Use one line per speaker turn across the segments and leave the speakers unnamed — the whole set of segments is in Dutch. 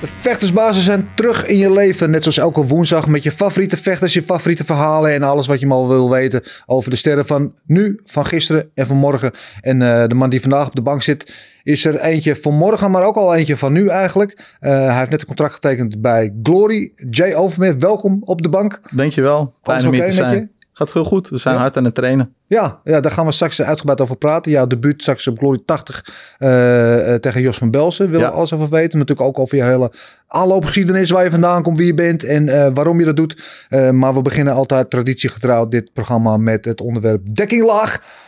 De vechtersbazen zijn terug in je leven. Net zoals elke woensdag met je favoriete vechters, je favoriete verhalen en alles wat je maar wil weten over de sterren van nu, van gisteren en van morgen. En eh, de man die vandaag op de bank zit, is er eentje van morgen, maar ook al eentje van nu eigenlijk. Eh, hij heeft net een contract getekend bij Glory. Jay Overmeer, welkom op de bank.
Dankjewel. Fijn om hier
oké
te
met
zijn. Gaat heel goed. We zijn
Ja.
hard aan het trainen.
Ja, ja, daar gaan we straks uitgebreid over praten. Jouw debuut straks op Glory 80 eh, eh, tegen Jos van Belsen. Wil
Ja.
we alles over weten. Maar natuurlijk ook over je hele aanloopgeschiedenis. Waar je vandaan komt, wie je bent en eh, waarom je dat doet. Eh, maar we beginnen altijd traditiegetrouw dit programma met het onderwerp dekkinglaag.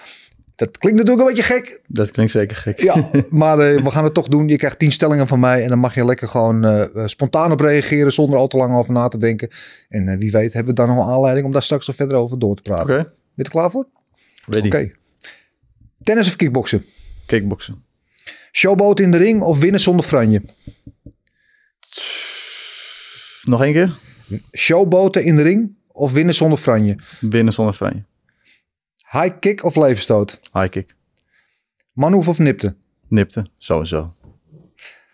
Dat klinkt natuurlijk een beetje gek.
Dat klinkt zeker gek.
Ja, maar eh, we gaan het toch doen. Je krijgt tien stellingen van mij. En dan mag je lekker gewoon eh, eh, spontaan op reageren. Zonder al te lang over na te denken. En eh, wie weet hebben we dan nog een aanleiding om daar straks nog verder over door te praten.
Oké.
Ben je er klaar voor?
Ready.
Oké. Tennis of kickboksen?
Kickboksen.
Showboat in de ring of winnen zonder franje?
Nog één keer.
Showboten in de ring of winnen zonder franje?
Winnen zonder franje.
High kick of levenstoot?
High kick.
Manhoef of nipte?
Nipte. Sowieso.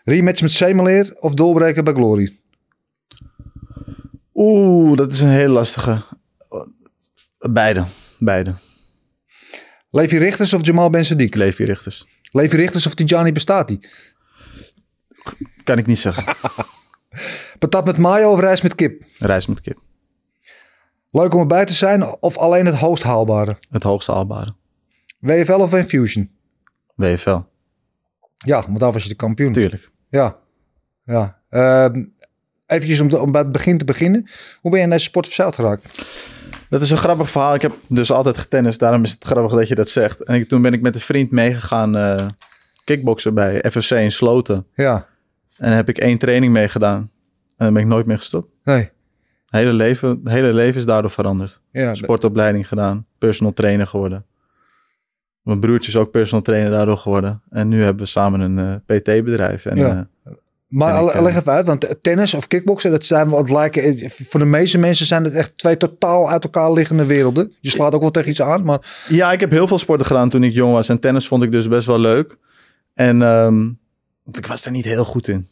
Rematch met Semeleer of doorbreken bij Glory?
Oeh, dat is een hele lastige. Beide. Beide.
Levi Richters of Jamal Ben Sadiq?
Levi Richters.
Levi Richters of Tijani Bestati?
Kan ik niet zeggen.
Patat met mayo of rijst met kip?
Reis met kip.
Leuk om erbij te zijn of alleen het hoogst haalbare?
Het hoogste haalbare.
WFL of Infusion?
WFL.
Ja, want daar was je de kampioen.
Tuurlijk.
Ja, ja. Even eventjes om, de- om bij het begin te beginnen. Hoe ben je in deze sport verzeild geraakt?
Dat is een grappig verhaal. Ik heb dus altijd getennist. Daarom is het grappig dat je dat zegt. En ik, toen ben ik met een vriend meegegaan eh kickboksen bij FFC in Sloten.
Ja,
En daar heb ik één training mee gedaan. En daar ben ik nooit meer gestopt.
nee.
Het hele leven, het hele leven is daardoor veranderd.
Ja,
Sportopleiding gedaan, personal trainer geworden. Mijn broertje is ook personal trainer daardoor geworden. En nu hebben we samen een PT-bedrijf. En,
Ja.
eh,
maar
en ik,
le-
eh,
leg even uit, want tennis of kickboksen, dat zijn wat lijken. eh, Voor de meeste mensen zijn het echt twee totaal uit elkaar liggende werelden. Je slaat ook wel tegen iets aan, maar
ja, ik heb heel veel sporten gedaan toen ik jong was. En tennis vond ik dus best wel leuk. En ehm, ik was er niet heel goed in.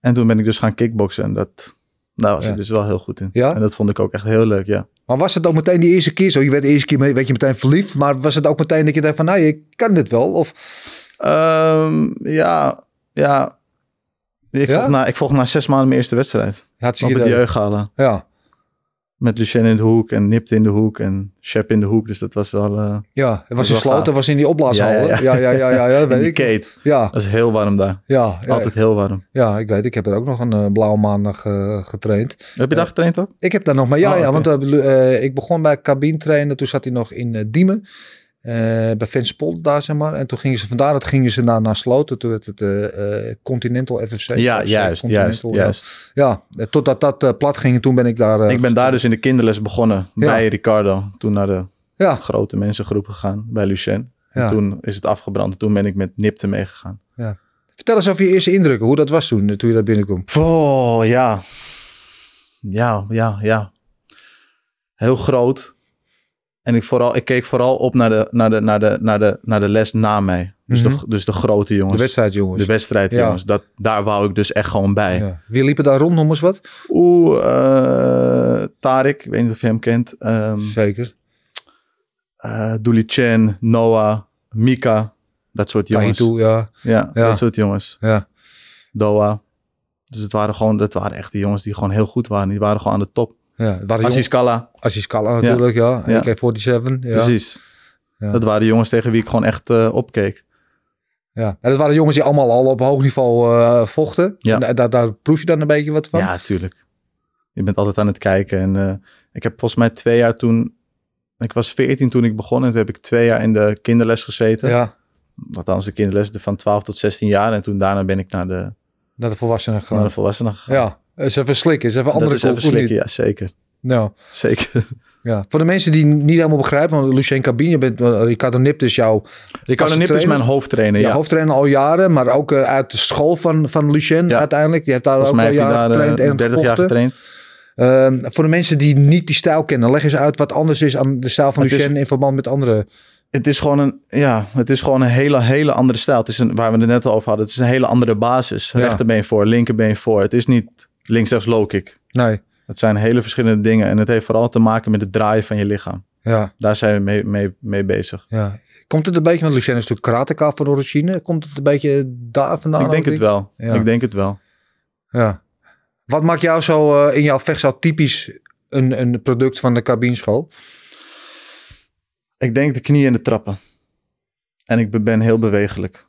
En toen ben ik dus gaan kickboksen. En dat, daar was
Ja.
ik dus wel heel goed in.
Ja?
En dat vond ik ook echt heel leuk, ja.
Maar was het ook meteen die eerste keer zo? Je werd de eerste keer mee, werd je meteen verliefd. Maar was het ook meteen dat je dacht van, nou, je kan dit wel? Of,
Ehm, ja, ja. Ik,
Ja?
Volg na, ik volg na zes maanden mijn eerste wedstrijd.
had
Op het jeugdgala.
Ja,
Met Lucien in de hoek en Nipt in de hoek en Shep in de hoek. Dus dat was wel... eh
ja. Het was
is
in
wel
sloten,
gaaf.
was in die opblaashal.
Ja,
hè? Ja,
ja,
ja, ja, ja, ja, dat
in
weet
die
ik.
Kate.
Ja,
Dat is heel warm daar.
ja, ja,
Altijd heel warm.
ja, ik weet. Ik heb er ook nog een eh, blauwe maandag eh, getraind.
Heb je daar getraind ook?
Ik heb daar nog maar ja,
Oh,
ja
oké.
want eh, eh, ik begon bij cabine trainen. Toen zat hij nog in eh, Diemen. eh, bij Venspol daar zeg maar. En toen gingen ze vandaar dat gingen ze naar, naar Sloten. Toen werd het eh, eh, Continental FFC.
Ja,
Of, eh,
juist, juist,
Continental, ja.
juist.
Ja, eh, totdat dat eh, plat ging. en Toen ben ik daar. eh,
Ik ben daar dus in de kinderles begonnen
Ja.
bij Ricardo. Toen naar de
Ja,
grote mensengroep gegaan bij Lucien. En
Ja.
toen is het afgebrand. Toen ben ik met Nipte meegegaan.
vertel eens over je eerste indrukken. Hoe dat was toen, eh, toen je daar binnenkwam.
Oh, ja. Ja, ja, ja. Heel groot. En ik, vooral, ik keek vooral op naar de, naar de, naar de, naar de, naar de les na mij. Dus,
Mhm.
de, dus de grote jongens.
De wedstrijd, jongens.
De wedstrijd,
Ja.
jongens. Dat, daar wou ik dus echt gewoon bij.
ja. Wie liepen daar rond, noem eens wat?
Oeh, eh, Tarek. Ik weet niet of je hem kent. Ehm
Zeker.
eh, Dooley Chen, Noah, Mika. Dat soort jongens.
Tahitu, ja.
Ja,
Ja.
dat soort jongens.
ja.
Doha. Dus het waren gewoon, dat waren echt de jongens die gewoon heel goed waren. Die waren gewoon aan de top.
Ja, het waren
Aziz
jongens-
Kalla.
Aziz Kalla natuurlijk, ja.
Ja.
AK-47, ja.
Precies.
Ja.
Dat waren jongens tegen wie ik gewoon echt eh, opkeek.
Ja, en dat waren jongens die allemaal al op hoog niveau eh, vochten.
Ja.
En da- daar, daar proef je dan een beetje wat van.
Ja, tuurlijk. Je bent altijd aan het kijken. En eh, ik heb volgens mij twee jaar toen... Ik was veertien toen ik begon. En toen heb ik twee jaar in de kinderles gezeten.
Ja,
Althans, de kinderles van 12 tot 16 jaar. En toen daarna ben ik naar de,
naar de volwassenen
naar
gaan.
de volwassenen gegaan.
Ja, eens even slikken, eens even
Dat
andere
is even
koek, of niet?
slikken, ja, zeker.
Nou,
Zeker.
ja. Voor de mensen die niet helemaal begrijpen, want Lucien Cabine, je bent, eh, Ricardo Nipt is jouw
Ricardo Nip is
trainer.
mijn hoofdtrainer.
ja.
Ja,
hoofdtrainer al jaren, maar ook eh, uit de school van, van Lucien
Ja.
uiteindelijk. Die heeft daar
Volgens mij
ook
heeft
al
hij
jaren
daar eh,
getraind en
30 jaar
gevochten.
getraind.
Ehm, voor de mensen die niet die stijl kennen, leg eens uit wat anders is aan de stijl van
Het is-
Lucien in verband met andere.
Het is gewoon een, ja, het is gewoon een hele, hele andere stijl. Het is een, waar we het net al over hadden. Het is een hele andere basis.
Ja.
Rechterbeen voor, linkerbeen voor. Het is niet links, rechts, low kick.
Nee,
Het zijn hele verschillende dingen. En het heeft vooral te maken met het draaien van je lichaam.
ja,
Daar zijn we mee, mee, mee bezig.
ja. Komt het een beetje, want Lucien is natuurlijk karateka van origine. Komt het een beetje daar vandaan?
ik denk
ook,
het wel.
Ja.
Ik denk het wel.
Ja. Wat maakt jou zo eh, in jouw vechtzaal typisch een, een product van de cabineschool?
Ik denk de knieën en de trappen. En ik be- ben heel bewegelijk.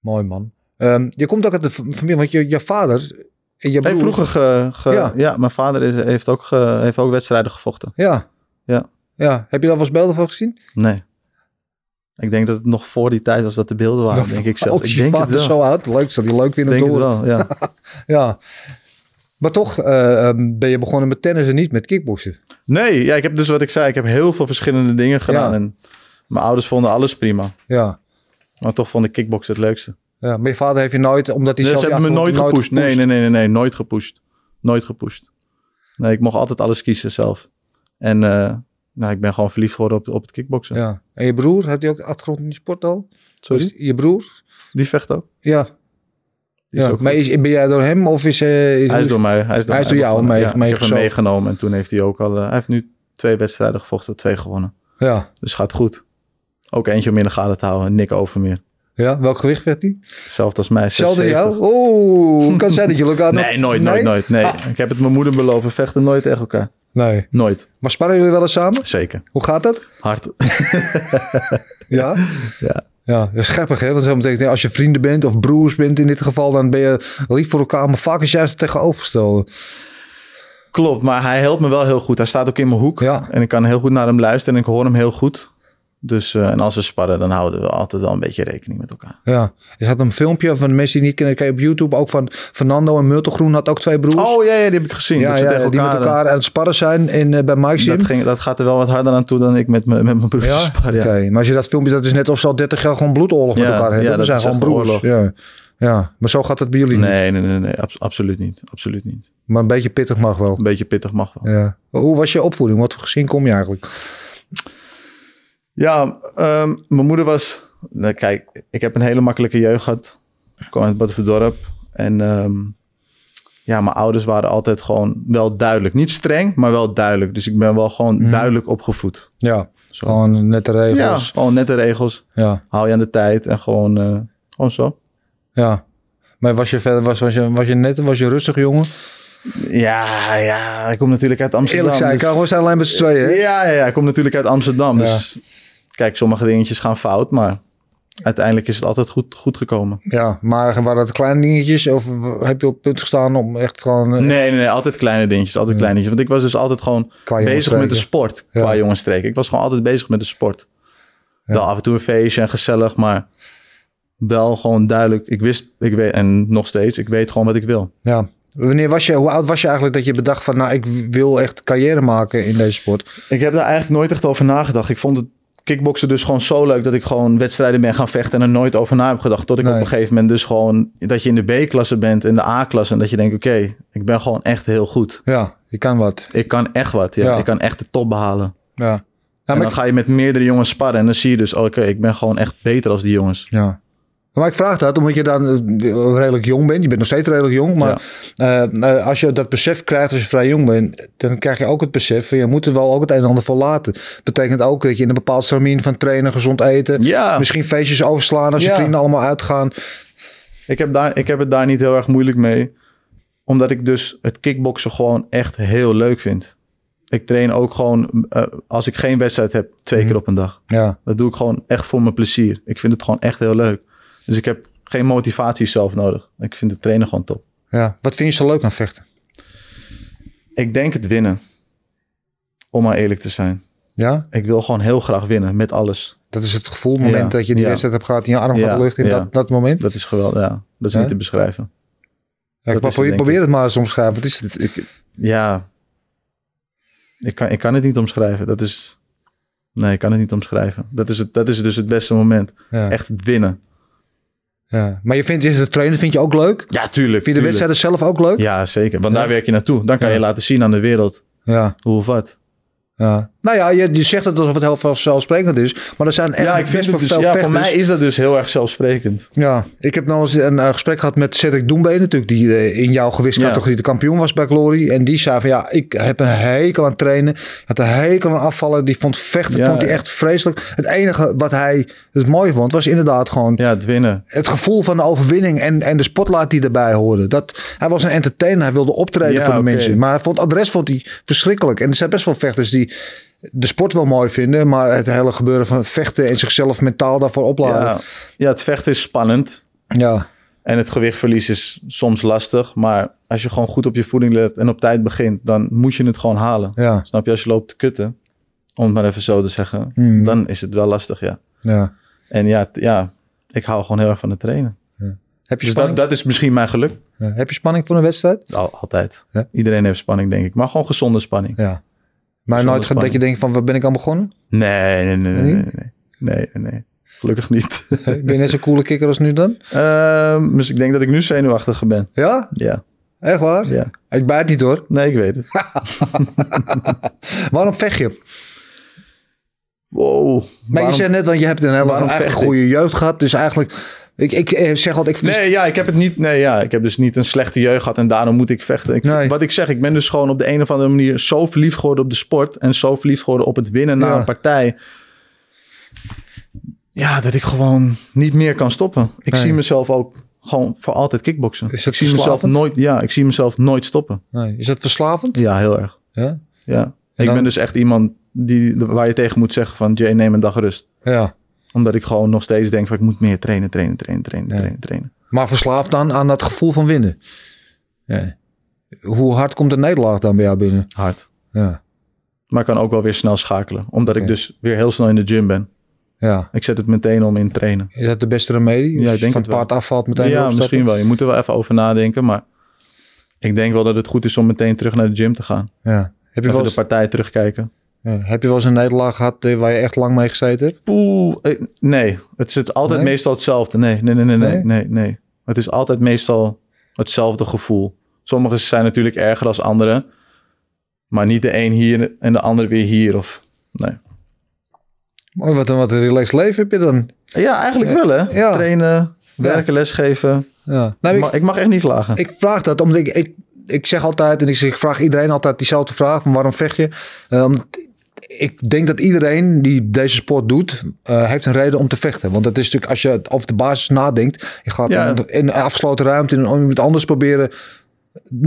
Mooi man. Ehm, je komt ook uit de fam- familie, want je, je vader en je
Hij
broer...
heeft vroeger ge- ge-
Ja.
ja. mijn vader is, heeft, ook ge- heeft ook wedstrijden gevochten.
Ja.
Ja.
ja. Heb je daar wel eens beelden van gezien?
Nee. Ik denk dat het nog voor die tijd was dat de beelden waren, denk ik zelf.
Nou, Ook
Ik
je
denk het
vader
wel.
zo oud. Leuk, zal die leuk
ik
vinden
denk
om te
het
horen.
wel, ja.
Ja. Maar toch eh, ehm, ben je begonnen met tennis en niet met kickboksen.
Nee, ja, ik heb dus wat ik zei. Ik heb heel veel verschillende dingen gedaan.
Ja.
En mijn ouders vonden alles prima.
Ja.
Maar toch vond ik kickbox het leukste.
ja. Maar je vader heeft je nooit, omdat hij
Nee,
zelf...
ze
die
hebben me nooit
achtergrond
gepusht. Nee, nee, nee, nee, nee, nooit gepusht. Nooit gepusht. Nee, ik mocht altijd alles kiezen zelf. En eh, nou, ik ben gewoon verliefd geworden op, op het kickboksen.
Ja. En je broer, heeft hij ook achtergrond in die sport al?
Sorry?
Je broer?
Die vecht ook.
Ja.
Die is
ja.
ook
Maar
goed.
is, ben jij door hem of is... eh, is
hij is door mij. Hij is door,
Hij is
mij
door jou
begonnen.
mee-
Ja, Ik heb hem
meegezogen.
meegenomen en toen heeft hij ook al... eh, hij heeft nu twee wedstrijden gevochten, twee gewonnen.
Ja.
Dus gaat goed. Ook eentje om in de gaten te houden. Nick Overmeer.
ja. Welk gewicht werd hij?
Hetzelfde als mij.
Hetzelfde
76.
jou? Oeh, kan zijn dat Ah. jullie elkaar nog-
Nee, nooit, nooit, nooit. Nee. Ik heb het mijn moeder beloven. We vechten nooit tegen elkaar.
Nee.
Nooit.
Maar sparren jullie wel eens samen?
Zeker.
Hoe gaat dat?
Hard.
Ja?
Ja.
Ja, dat is grappig, hè? Want dat betekent, als je vrienden bent of broers bent in dit geval, dan ben je lief voor elkaar, maar vaak is juist het tegenovergestelde.
Klopt, maar hij helpt me wel heel goed. Hij staat ook in mijn hoek.
Ja.
En ik kan heel goed naar hem luisteren en ik hoor hem heel goed. Dus, eh, en als we sparren, dan houden we altijd wel een beetje rekening met elkaar.
Ja. Er had een filmpje van de mensen die niet kennen, kan je op YouTube ook van Fernando en Myrtle Groen had ook twee broers.
Oh ja, ja die heb ik gezien.
ja,
dat ze
ja,
tegen
die met
elkaar, eh,
elkaar aan het sparren zijn in, eh, bij Mike Sim.
Dat, ging, dat gaat er wel wat harder aan toe dan ik met, mijn- met mijn broers
Ja, oké.
spar. Ja.
Maar als je dat filmpje, dat is net of ze al 30 jaar gewoon bloedoorlog met
Ja,
elkaar hebben.
ja,
we
dat
zijn
is
gewoon
echt
broers.
oorlog.
Ja. ja, maar zo gaat het bij jullie niet.
Nee, nee, nee, nee abs- absoluut niet. Absoluut niet.
Maar een beetje pittig mag wel.
Een beetje pittig mag wel.
Ja. Hoe was je opvoeding? Wat voor gezin kom je eigenlijk?
Ja, ehm, mijn moeder was. Nou, kijk, ik heb een hele makkelijke jeugd gehad. Ik kwam uit Badverdorp. En ehm, ja, mijn ouders waren altijd gewoon wel duidelijk. Niet streng, maar wel duidelijk. Dus ik ben wel gewoon duidelijk opgevoed.
Ja,
Zo.
gewoon nette
Ja,
Mhm. regels.
gewoon nette regels.
Ja,
Hou je aan de tijd en gewoon, eh, gewoon zo.
ja. Maar was je verder, was, was je, was je net, was je rustig jongen?
Ja, ja, ik kom natuurlijk uit Amsterdam.
Eerlijk zijn,
dus-
Karel, we zijn alleen met z'n tweeën. hè?
Ja, ja, ja, ik kom natuurlijk uit Amsterdam.
Ja.
Dus kijk, sommige dingetjes gaan fout, maar uiteindelijk is het altijd goed, goed gekomen.
Ja, maar waren dat kleine dingetjes? Of w- heb je op het punt gestaan om echt gewoon... eh,
Nee, nee, nee, altijd kleine dingetjes, altijd kleine dingetjes. Want ik was dus altijd gewoon
Qua
bezig met de
jongensstreken.
sport,
Ja.
qua jongensstreken. Ik was gewoon altijd bezig met de sport. Wel af en toe een feestje en gezellig, maar wel gewoon duidelijk. Ik wist, ik weet, en nog steeds, ik weet gewoon wat ik wil.
Ja. Wanneer was je, hoe oud was je eigenlijk dat je bedacht van... Nou, ik wil echt carrière maken in deze sport?
Ik heb daar eigenlijk nooit echt over nagedacht. Ik vond het kickboksen dus gewoon zo leuk dat ik gewoon wedstrijden ben gaan vechten en er nooit over na heb gedacht. Tot ik
Nee.
op een gegeven moment dus gewoon, dat je in de B-klasse bent, in de A-klasse. En dat je denkt, oké, ik ben gewoon echt heel goed.
Ja, je kan wat.
Ik kan echt wat, ja.
Ja.
Ik kan echt de top behalen.
Ja. Ja,
en
maar
dan
ik,
ga je met meerdere jongens sparren. En dan zie je dus, oké, ik ben gewoon echt beter als die jongens.
ja. Maar ik vraag dat omdat je dan eh, redelijk jong bent. Je bent nog steeds redelijk jong. Maar eh, eh, als je dat besef krijgt als je vrij jong bent... dan krijg je ook het besef van je moet er wel ook het een en ander voor laten. Betekent ook dat je in een bepaald stramien van trainen, gezond eten...
Ja,
Misschien feestjes overslaan als je
Ja.
vrienden allemaal uitgaan.
ik heb, daar, ik heb het daar niet heel erg moeilijk mee. Omdat ik dus het kickboksen gewoon echt heel leuk vind. Ik train ook gewoon, eh, als ik geen wedstrijd heb, twee keer op een dag.
Ja,
Dat doe ik gewoon echt voor mijn plezier. Ik vind het gewoon echt heel leuk. Dus ik heb geen motivatie zelf nodig. Ik vind het trainen gewoon top.
ja. Wat vind je zo leuk aan vechten?
Ik denk het winnen. Om maar eerlijk te zijn.
Ja,
Ik wil gewoon heel graag winnen met alles.
dat is het gevoel, het moment
Ja,
dat je die
ja.
wedstrijd hebt gehad... en je arm gaat
Ja,
de lucht in
ja.
dat, dat moment.
Dat is geweldig, ja. Dat is
Ja?
niet te beschrijven.
Ja, ik
Dat is het,
probeer,
denk
probeer
ik.
het maar eens omschrijven. Wat is het?
Het- ik, ja. Ik kan, ik kan het niet omschrijven. Dat is. Nee, ik kan het niet omschrijven. Dat is, het, dat is dus het beste moment.
Ja,
Echt het winnen.
ja. Maar je vindt de trainer vind je ook leuk?
Ja, tuurlijk.
Vind je de
tuurlijk.
wedstrijden zelf ook leuk?
Ja, zeker. Want
Ja.
daar werk je naartoe. Dan kan
Ja.
je laten zien aan de wereld
Ja,
hoe of wat.
ja. Nou ja, je, je zegt het alsof het heel vanzelfsprekend is. Maar er zijn echt
Ja, ik
best
vind het
wel
dus,
veel
ja, voor
vechters.
mij is dat dus heel erg zelfsprekend.
Ja, ik heb nou eens een eh, gesprek gehad met Cedric Doembeen natuurlijk, die eh, in jouw gewichtscategorie de kampioen was bij Glory. En die zei van ja, ik heb een hekel aan trainen, had een hekel aan afvallen, die vond vechten,
Ja,
vond hij
ja.
echt vreselijk. Het enige wat hij het mooie vond, was inderdaad gewoon
Ja, het winnen.
het gevoel van de overwinning en, en de spotlight die erbij hoorde. Dat, hij was een entertainer, hij wilde optreden
Ja,
voor de
oké.
mensen. Maar hij vond, adres vond hij verschrikkelijk. En er zijn best wel vechters die de sport wel mooi vinden, maar het hele gebeuren van vechten en zichzelf mentaal daarvoor opladen.
Ja. ja, het vechten is spannend.
ja.
En het gewichtverlies is soms lastig. Maar als je gewoon goed op je voeding let en op tijd begint, dan moet je het gewoon halen.
ja.
Snap je, als je loopt te kutten, om het maar even zo te zeggen,
Mm.
dan is het wel lastig, ja.
ja.
En ja, t- ja ik hou gewoon heel erg van het trainen.
Heb je,
Dus dat,
spanning,
dat is misschien mijn geluk.
Ja, heb je spanning voor een wedstrijd?
Al- altijd.
Ja.
Iedereen heeft spanning, denk ik. Maar gewoon gezonde spanning.
Ja. Maar nooit ge- dat je
spanning.
denkt van, waar ben ik aan begonnen?
Nee, nee, nee, nee,
Nee?
nee. nee. Nee, nee, nee. Gelukkig niet.
Ben je net zo'n coole kikker als nu dan?
Ehm, dus ik denk dat ik nu zenuwachtiger ben.
Ja?
Ja,
Echt waar?
ja.
Ik bijt niet hoor.
Nee, ik weet het.
Waarom vecht je?
Wow.
Maar je
Waarom-
zegt net, want je hebt een hele
waarom
eigen
vecht ik?
goede jeugd gehad. Dus eigenlijk, ik, ik eh, zeg altijd, ik
Nee, ja, ik heb het niet. Nee, ja, ik heb dus niet een slechte jeugd gehad en daarom moet ik vechten. Ik,
Nee.
Wat ik zeg, ik ben dus gewoon op de een of andere manier zo verliefd geworden op de sport en zo verliefd geworden op het winnen na
Ja.
een partij. Ja, dat ik gewoon niet meer kan stoppen. Ik
Nee.
zie mezelf ook gewoon voor altijd kickboksen.
Is dat
ik zie mezelf
verslavend?
nooit. Ja, ik zie mezelf nooit stoppen.
Nee, Is dat verslavend?
Ja, heel erg.
Ja.
Ja.
En
Ik
dan-
ben dus echt iemand die, waar je tegen moet zeggen van Jay, neem een dag rust.
ja.
Omdat ik gewoon nog steeds denk van ik moet meer trainen, trainen, trainen, trainen,
Ja.
trainen, trainen.
Maar verslaafd dan aan dat gevoel van winnen. Ja. Hoe hard komt de nederlaag dan bij jou binnen?
Hard.
Ja.
Maar ik kan ook wel weer snel schakelen. Omdat ik
Ja.
dus weer heel snel in de gym ben.
ja.
Ik zet het meteen om in trainen.
Is dat de beste remedie?
Ja,
Als
ik denk
van
het wel.
paard afvalt meteen weer
ja,
opstappen?
misschien wel. Je moet er wel even over nadenken. Maar ik denk wel dat het goed is om meteen terug naar de gym te gaan.
Ja. Heb je,
Even
wel
de
eens,
partij terugkijken.
ja. heb je wel eens een nederlaag gehad eh, waar je echt lang mee gezeten hebt?
Poeh. eh, Nee, het is altijd
Nee?
meestal hetzelfde. Nee, nee, nee, nee, nee,
Nee?
nee, nee. Het is altijd meestal hetzelfde gevoel. Sommige zijn natuurlijk erger dan andere. Maar niet de een hier en de ander weer hier. Of, nee.
Mooi, Oh, wat een, wat een relaxed leven heb je dan.
Ja, eigenlijk wel hè.
Ja.
Trainen, werken, lesgeven.
Ja. Nou,
Maar
ik,
ik mag echt niet klagen.
ik vraag dat omdat ik, ik, ik zeg altijd en ik, zeg- ik vraag iedereen altijd diezelfde vraag van waarom vecht je? Eh, omdat ik denk dat iedereen die deze sport doet, eh, heeft een reden om te vechten. Want dat is natuurlijk, als je het over de basis nadenkt, je gaat
Ja.
in, in een afgesloten ruimte in een- iemand anders proberen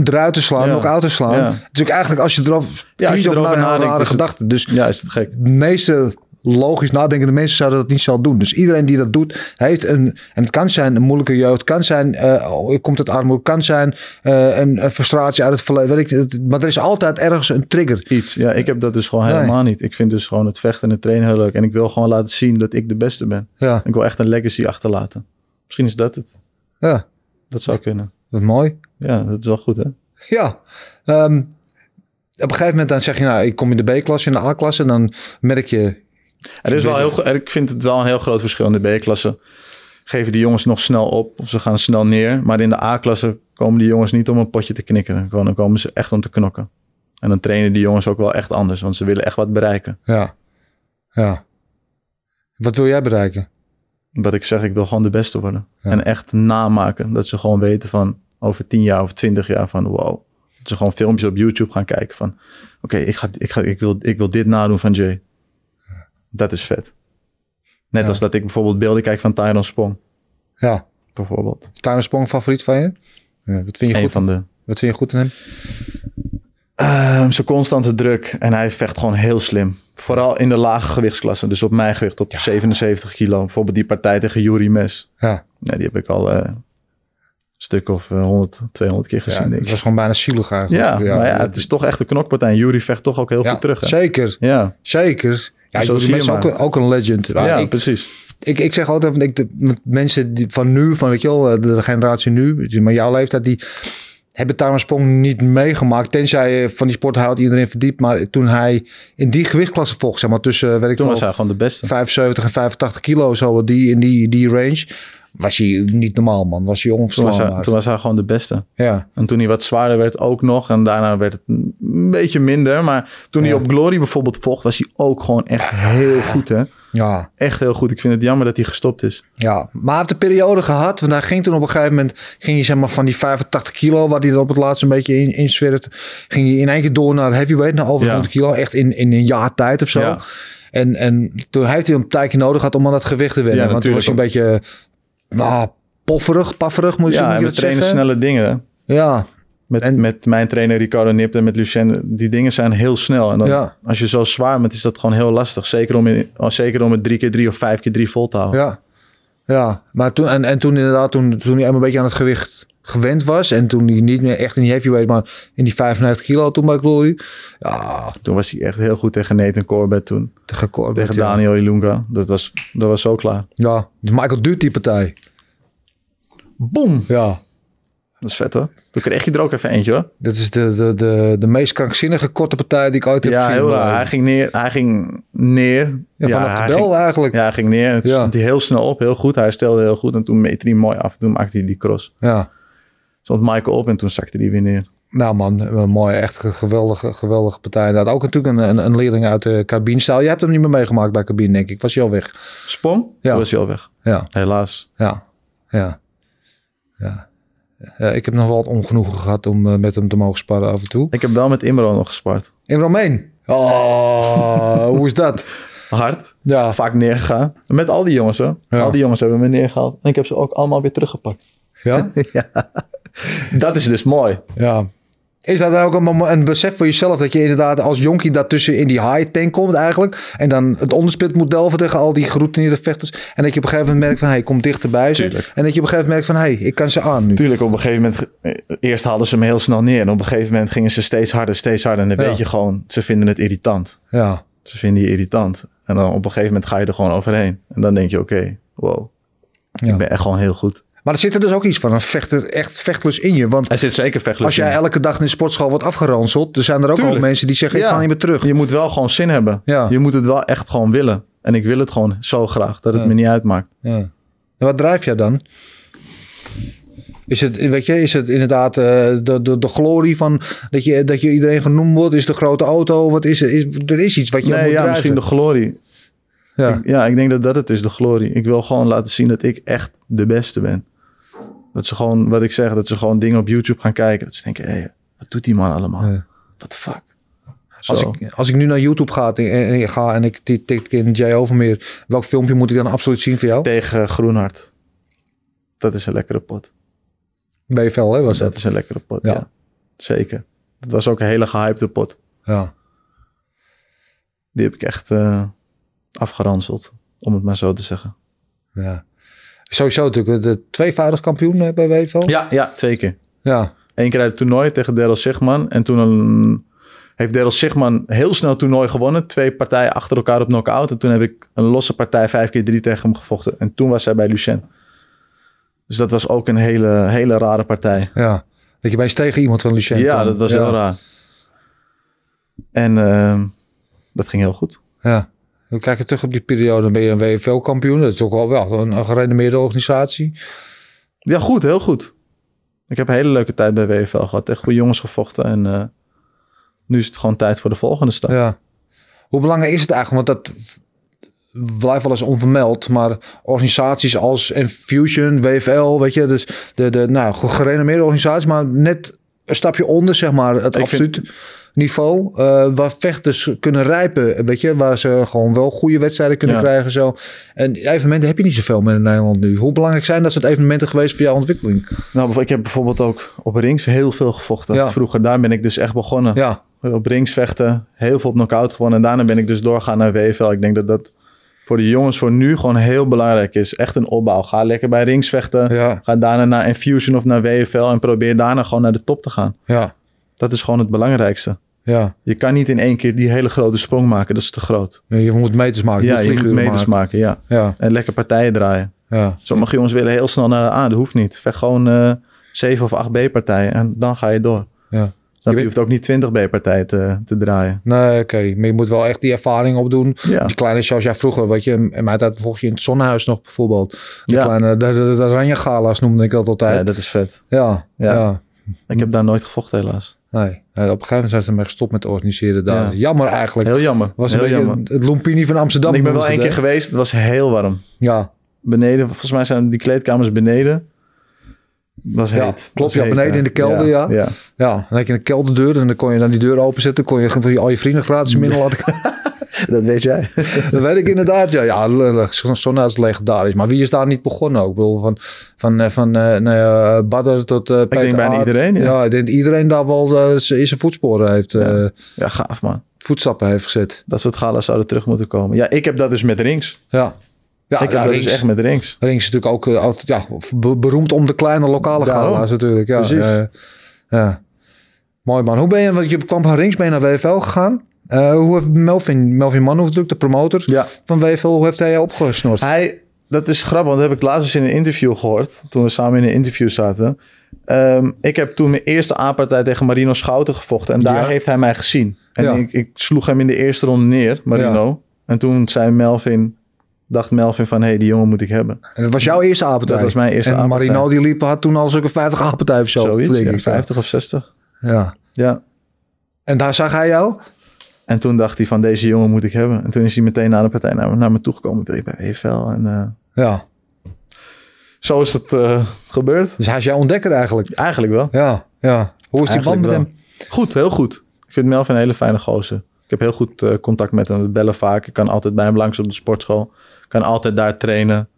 eruit te slaan,
Ja.
ook uit te slaan.
Ja.
Het is natuurlijk eigenlijk als je erover,
Ja, als je
erover
erover
nadenkt,
nadenkt,
rare
is het-
gedachten. Dus
Ja, is het gek.
de meeste logisch nadenkende mensen zouden dat niet zo doen. Dus iedereen die dat doet, heeft een... En het kan zijn een moeilijke jeugd, kan zijn... eh, oh, komt het armoede, kan zijn eh, een, een frustratie uit het verleden. Weet ik, het- maar er is altijd ergens een trigger.
Iets. Ja, ik heb dat dus gewoon
Nee.
helemaal niet. Ik vind dus gewoon het vechten en het trainen heel leuk. En ik wil gewoon laten zien dat ik de beste ben.
Ja,
Ik wil echt een legacy achterlaten. Misschien is dat het.
ja
Dat zou kunnen.
dat is mooi.
Ja, dat is wel goed hè.
Ja, ehm, op een gegeven moment dan zeg je... Nou, ik kom in de B-klasse, in de A-klasse. En dan merk je...
Er is wel heel, gro- en ik vind het wel een heel groot verschil in de B-klasse. Geven die jongens nog snel op of ze gaan snel neer. Maar in de A-klasse komen die jongens niet om een potje te knikkeren. Gewoon, Dan komen ze echt om te knokken. En dan trainen die jongens ook wel echt anders. Want ze willen echt wat bereiken.
Ja, ja. Wat wil jij bereiken?
wat ik zeg, ik wil gewoon de beste worden.
Ja.
En echt namaken. Dat ze gewoon weten van over 10 jaar of 20 jaar van wow. Dat ze gewoon filmpjes op YouTube gaan kijken van oké, ik, ga, ik, ga, ik, wil, ik wil dit nadoen van Jay. Dat is vet. Net
Ja.
als dat ik bijvoorbeeld beelden kijk van Tyron Spong.
Ja,
Bijvoorbeeld.
tuinersprong favoriet van je? Ja, wat, vind je
Een
goed,
van de...
wat vind je goed in hem?
Ehm, zijn constante druk. En hij vecht gewoon heel slim. Vooral in de lage gewichtsklassen. Dus op mijn gewicht, op 77 kilo. Bijvoorbeeld die partij tegen Yuri Mes.
Ja.
Nee, die heb ik al eh, een stuk of eh, 100, 200 keer gezien.
Ja,
denk
het
ik.
was gewoon bijna zielig eigenlijk.
Ja, maar ja, het is toch echt een knokpartij. En Jury vecht toch ook heel
Ja,
goed terug. Hè?
Zeker,
Ja,
zeker. Ja,
Zo
Joeri
zie je
Mes is ook,
maar.
een- ook een legend.
ja,
ik,
precies.
Ik, ik zeg altijd, want ik, de- want mensen die van nu, van weet je wel, eh, de generatie nu, die- maar jouw leeftijd, die hebben Tamersprong niet meegemaakt. Tenzij eh, van die sport houdt iedereen verdiept. Maar toen hij in die gewichtklasse vocht, zeg maar tussen, eh, weet ik
Toen
veel,
was hij gewoon de beste.
75 en 85 kilo, zo die, in die, die range, was hij niet normaal, man. Was hij
Toen was,
onverslaanbaar.
hij, toen was hij gewoon de beste.
Ja,
En toen hij wat zwaarder werd ook nog. En daarna werd het een beetje minder. Maar toen
Ja.
hij op Glory bijvoorbeeld vocht, was hij ook gewoon echt heel goed, hè?
ja.
Echt heel goed. Ik vind het jammer dat hij gestopt is.
Ja, maar hij heeft de periode gehad. Want hij ging toen op een gegeven moment... ging je zeg maar van die 85 kilo... waar hij er op het laatst een beetje in, in zwerft... ging je in één keer door naar heavyweight... naar over
Ja.
100 kilo. Echt in, in een jaar tijd of zo.
Ja.
En, en toen heeft hij een tijdje nodig gehad... om aan dat gewicht te wennen.
Ja,
want toen was hij een beetje... Nou, pofferig, pafferig moet je
Ja,
moet
en
je
we
dat
trainen
zeggen.
snelle dingen. hè.
Ja,
Met,
En-
met mijn trainer Ricardo Nipt en met Lucien, die dingen zijn heel snel. En dan,
Ja.
als je zo zwaar bent, is dat gewoon heel lastig. Zeker om, in, oh, zeker om het drie keer drie of vijf keer drie vol te houden.
ja. Ja, maar toen, en, en toen inderdaad... Toen, toen hij helemaal een beetje aan het gewicht gewend was... en toen hij niet meer echt in die heavyweight... maar in die 95 kilo toen bij Glory... ja,
Toen was hij echt heel goed tegen Nathan Corbett toen.
te gekort.
Tegen
ja.
Daniel Ilunga. Dat was, dat was zo klaar.
Ja, de Michael Duty partij.
Boom!
Ja.
Dat is vet hoor. Toen kreeg je er ook even eentje hoor.
Dat is de, de, de, de meest krankzinnige korte partij die ik ooit heb
Ja,
gezien.
heel
Maar-
raar. Hij ging neer. Hij ging neer.
Ja, vanaf
hij
de bel
ging-
eigenlijk.
ja,
Ja.
hij ging neer. En toen
Ja.
stond hij heel snel op. Heel goed. Hij stelde heel goed. En toen meet hij hem mooi af. Toen maakte hij die cross. Stond Michael op en toen zakte hij weer neer.
Nou man, een mooie, echt ge- geweldige, geweldige partij. Dat ook natuurlijk een, een, een leerling uit de Carbinestaal. Je hebt hem niet meer meegemaakt bij Carbine, denk ik. Was hij al weg.
Sprong.
Ja.
Toen was hij al weg.
Ja,
Helaas.
ja, ja. ja. Eh, ik heb nog wel het ongenoegen gehad om eh, met hem te mogen sparren af en toe.
Ik heb wel met Imro nog gespart.
In Romein. Oh, hoe is dat?
Hard.
Ja,
Vaak neergegaan. Met al die jongens hoor.
Ja.
Al die jongens hebben me neergehaald. En ik heb ze ook allemaal weer teruggepakt.
ja?
Dat is dus mooi.
Ja. Is dat dan ook een, mom- een besef voor jezelf dat je inderdaad als jonkie daartussen in die high tank komt eigenlijk. En dan het onderspit moet delven tegen al die geroutineerde vechters. En dat je op een gegeven moment merkt van, hey, ik kom dichterbij ze.
Tuurlijk.
En dat je op een gegeven moment merkt van, hey, ik kan ze aan nu.
Tuurlijk, op een gegeven moment... eh, Eerst haalden ze me heel snel neer. En op een gegeven moment gingen ze steeds harder, steeds harder. En dan
Ja.
weet je gewoon, ze vinden het irritant.
Ja,
Ze vinden je irritant. En dan op een gegeven moment ga je er gewoon overheen. En dan denk je, oké, wow.
Ja.
Ik ben echt gewoon heel goed.
maar er zit er dus ook iets van, een vechter, echt vechtlust in je. Want
Er zit zeker vechtlust
als jij
in.
elke dag in de sportschool wordt afgeranseld, er zijn er ook al
Tuurlijk.
mensen die zeggen, ik
Ja.
ga niet meer terug.
Je moet wel gewoon zin hebben.
Ja.
Je moet het wel echt gewoon willen. En ik wil het gewoon zo graag, dat het
Ja.
me niet uitmaakt.
Ja. En wat drijf jij dan? Is het, weet je, is het inderdaad eh, de, de, de glorie van dat je, dat je iedereen genoemd wordt? Is de grote auto? Wat is, het? is, er is iets wat je
nee,
moet
ja,
drijven.
misschien de glorie.
ja.
Ja, ik denk dat dat het is, de glorie. Ik wil gewoon laten zien dat ik echt de beste ben. Dat ze gewoon, wat ik zeg, dat ze gewoon dingen op YouTube gaan kijken. Dat ze denken, hé, wat doet die man allemaal?
Ja.
What the fuck? Zo.
als, ik, als ik nu naar YouTube ga en, en ik ga en ik tik tik in Jay Overmeer, welk filmpje moet ik dan absoluut zien voor jou?
Tegen Groenhart. Dat is een lekkere pot.
BFL, hè, was dat?
Dat is een lekkere pot,
Ja.
ja. Zeker. Dat was ook een hele gehypte pot.
Ja.
Die heb ik echt eh, afgeranseld, om het maar zo te zeggen.
ja. Sowieso natuurlijk de tweevoudig kampioen eh, bij WFL.
Ja, ja. Twee keer.
Ja.
Eén keer uit het toernooi tegen Daryl Sigman. En toen een- heeft Daryl Sigman heel snel het toernooi gewonnen. Twee partijen achter elkaar op knock-out. En toen heb ik een losse partij vijf keer drie tegen hem gevochten. En toen was hij bij Lucien. Dus dat was ook een hele, hele rare partij.
ja. Dat je bij eens tegen iemand van Lucien
ja,
kwam.
dat was
ja.
heel raar. En ehm, dat ging heel goed.
Ja. We kijken terug op die periode. Dan ben je een WFL-kampioen. Dat is ook wel, wel een, een gerenommeerde organisatie.
Ja, goed. Heel goed. Ik heb een hele leuke tijd bij WFL gehad. Echt goede jongens gevochten. En eh, nu is het gewoon tijd voor de volgende stap.
Ja. Hoe belangrijk is het eigenlijk? Want dat blijft wel eens onvermeld. Maar organisaties als Infusion, WFL, weet je. Dus de, de nou, gerenommeerde organisaties. Maar net een stapje onder, zeg maar. Het
Ik vind-
absoluut niveau. eh, waar vechters kunnen rijpen. Weet je. Waar ze gewoon wel goede wedstrijden kunnen
Ja.
krijgen. Zo. En evenementen heb je niet zoveel meer in Nederland nu. Hoe belangrijk zijn dat soort evenementen geweest voor jouw ontwikkeling?
Nou, ik heb bijvoorbeeld ook op rings heel veel gevochten.
Ja.
Vroeger, daar ben ik dus echt begonnen.
Ja.
Op rings vechten, heel veel op knock-out gewonnen. En daarna ben ik dus doorgaan naar WFL. Ik denk dat dat voor de jongens voor nu gewoon heel belangrijk is. Echt een opbouw. Ga lekker bij rings vechten.
Ja.
Ga daarna naar Infusion of naar WFL. En probeer daarna gewoon naar de top te gaan.
Ja,
Dat is gewoon het belangrijkste.
Ja,
Je kan niet in één keer die hele grote sprong maken. Dat is te groot.
Nee, je moet meters maken.
ja, je moet
figuren
meters maken. ja.
Ja,
En lekker partijen draaien.
ja.
Sommige jongens willen heel snel naar de A. Dat hoeft niet. Vecht gewoon eh 7 of 8 B-partijen. En dan ga je door.
ja.
Snap je?
Je
Je hoeft ook niet 20 B-partijen te, te draaien.
Nee, oké. Maar je moet wel echt die ervaring opdoen.
Ja.
Die kleine zoals jij vroeger, weet je. En mij dat volg je in het zonnehuis nog bijvoorbeeld. Die
Ja.
kleine, de, de, de Ranja-gala's noemde ik dat
ja,
altijd.
dat is vet.
Ja, ja.
Ja. Ik heb daar nooit gevochten helaas.
Nee. Nee, op een gegeven moment zijn ze ermee gestopt met organiseren daar.
Ja.
Jammer eigenlijk.
Heel jammer.
was een
heel
beetje
jammer.
het- het Lompini van Amsterdam.
ik ben wel
noemden
één
ze
keer
het,
geweest. Het was heel warm.
hè? Ja,
Beneden, volgens mij zijn die kleedkamers beneden. Dat was
Ja,
heet.
klopt,
Dat was
ja,
heet,
beneden in de kelder, ja.
ja.
ja. En dan had je een kelderdeur en dan kon je dan die deur openzetten. kon je gewoon al je vrienden gratis binnen laten komen.
Dat weet jij.
Dat weet ik inderdaad. Ja, ja le- le- zo'n sauna is legendarisch. Maar wie is daar niet begonnen ook? Ik bedoel, van, van, eh, van eh, nou ja, Badder tot eh Peter
denk bijna
Aert.
iedereen, ja.
ik denk dat iedereen daar wel eh, z- in zijn voetsporen heeft, eh,
Ja, gaaf man.
voetstappen heeft gezet.
Dat soort galas zouden terug moeten komen. Ja, ik heb dat dus met rings.
Ja. Ja,
ik heb
ja,
dat
Rings-
dus echt met rings.
Rings is natuurlijk ook eh, altijd, ja, be- beroemd om de kleine lokale
Daarom.
gala's natuurlijk. Ja,
Precies.
eh, ja. Mooi man. Hoe ben je, want je kwam van Rings ben je naar WFL gegaan. Eh, hoe heeft Melvin, Melvin Manhoef natuurlijk, de promotor
Ja.
van WFL, hoe heeft hij jou opgesnord?
Hij, dat is grappig, want dat heb ik laatst eens in een interview gehoord. Toen we samen in een interview zaten. Ehm, ik heb toen mijn eerste A-partij tegen Marino Schouten gevochten. En daar
Ja.
heeft hij mij gezien. En
Ja.
ik, ik sloeg hem in de eerste ronde neer, Marino. En toen zei Melvin, dacht Melvin van, hé, hey, die jongen moet ik hebben.
En dat was jouw eerste apentuig.
Dat was mijn eerste
en
apentuig.
Marino die liep, had toen al zulke 50 apentuig of zo.
Zoiets,
flink,
ja,
ik,
50 of 60.
Ja.
Ja.
En daar zag hij jou?
En toen dacht hij van, deze jongen moet ik hebben. En toen is hij meteen na de partij naar, me- naar me toegekomen. Wil je bij WFL? En eh,
Ja.
zo is het eh, gebeurd.
Dus hij is jouw ontdekker eigenlijk.
Eigenlijk wel.
Ja, ja. Hoe is die band met
Eigenlijk
hem?
wel. Goed, heel goed. Ik vind Melvin een hele fijne gozer. Ik heb heel goed eh, contact met hem. We bellen vaak. Ik kan altijd bij hem langs op de sportschool. Ik kan altijd daar trainen.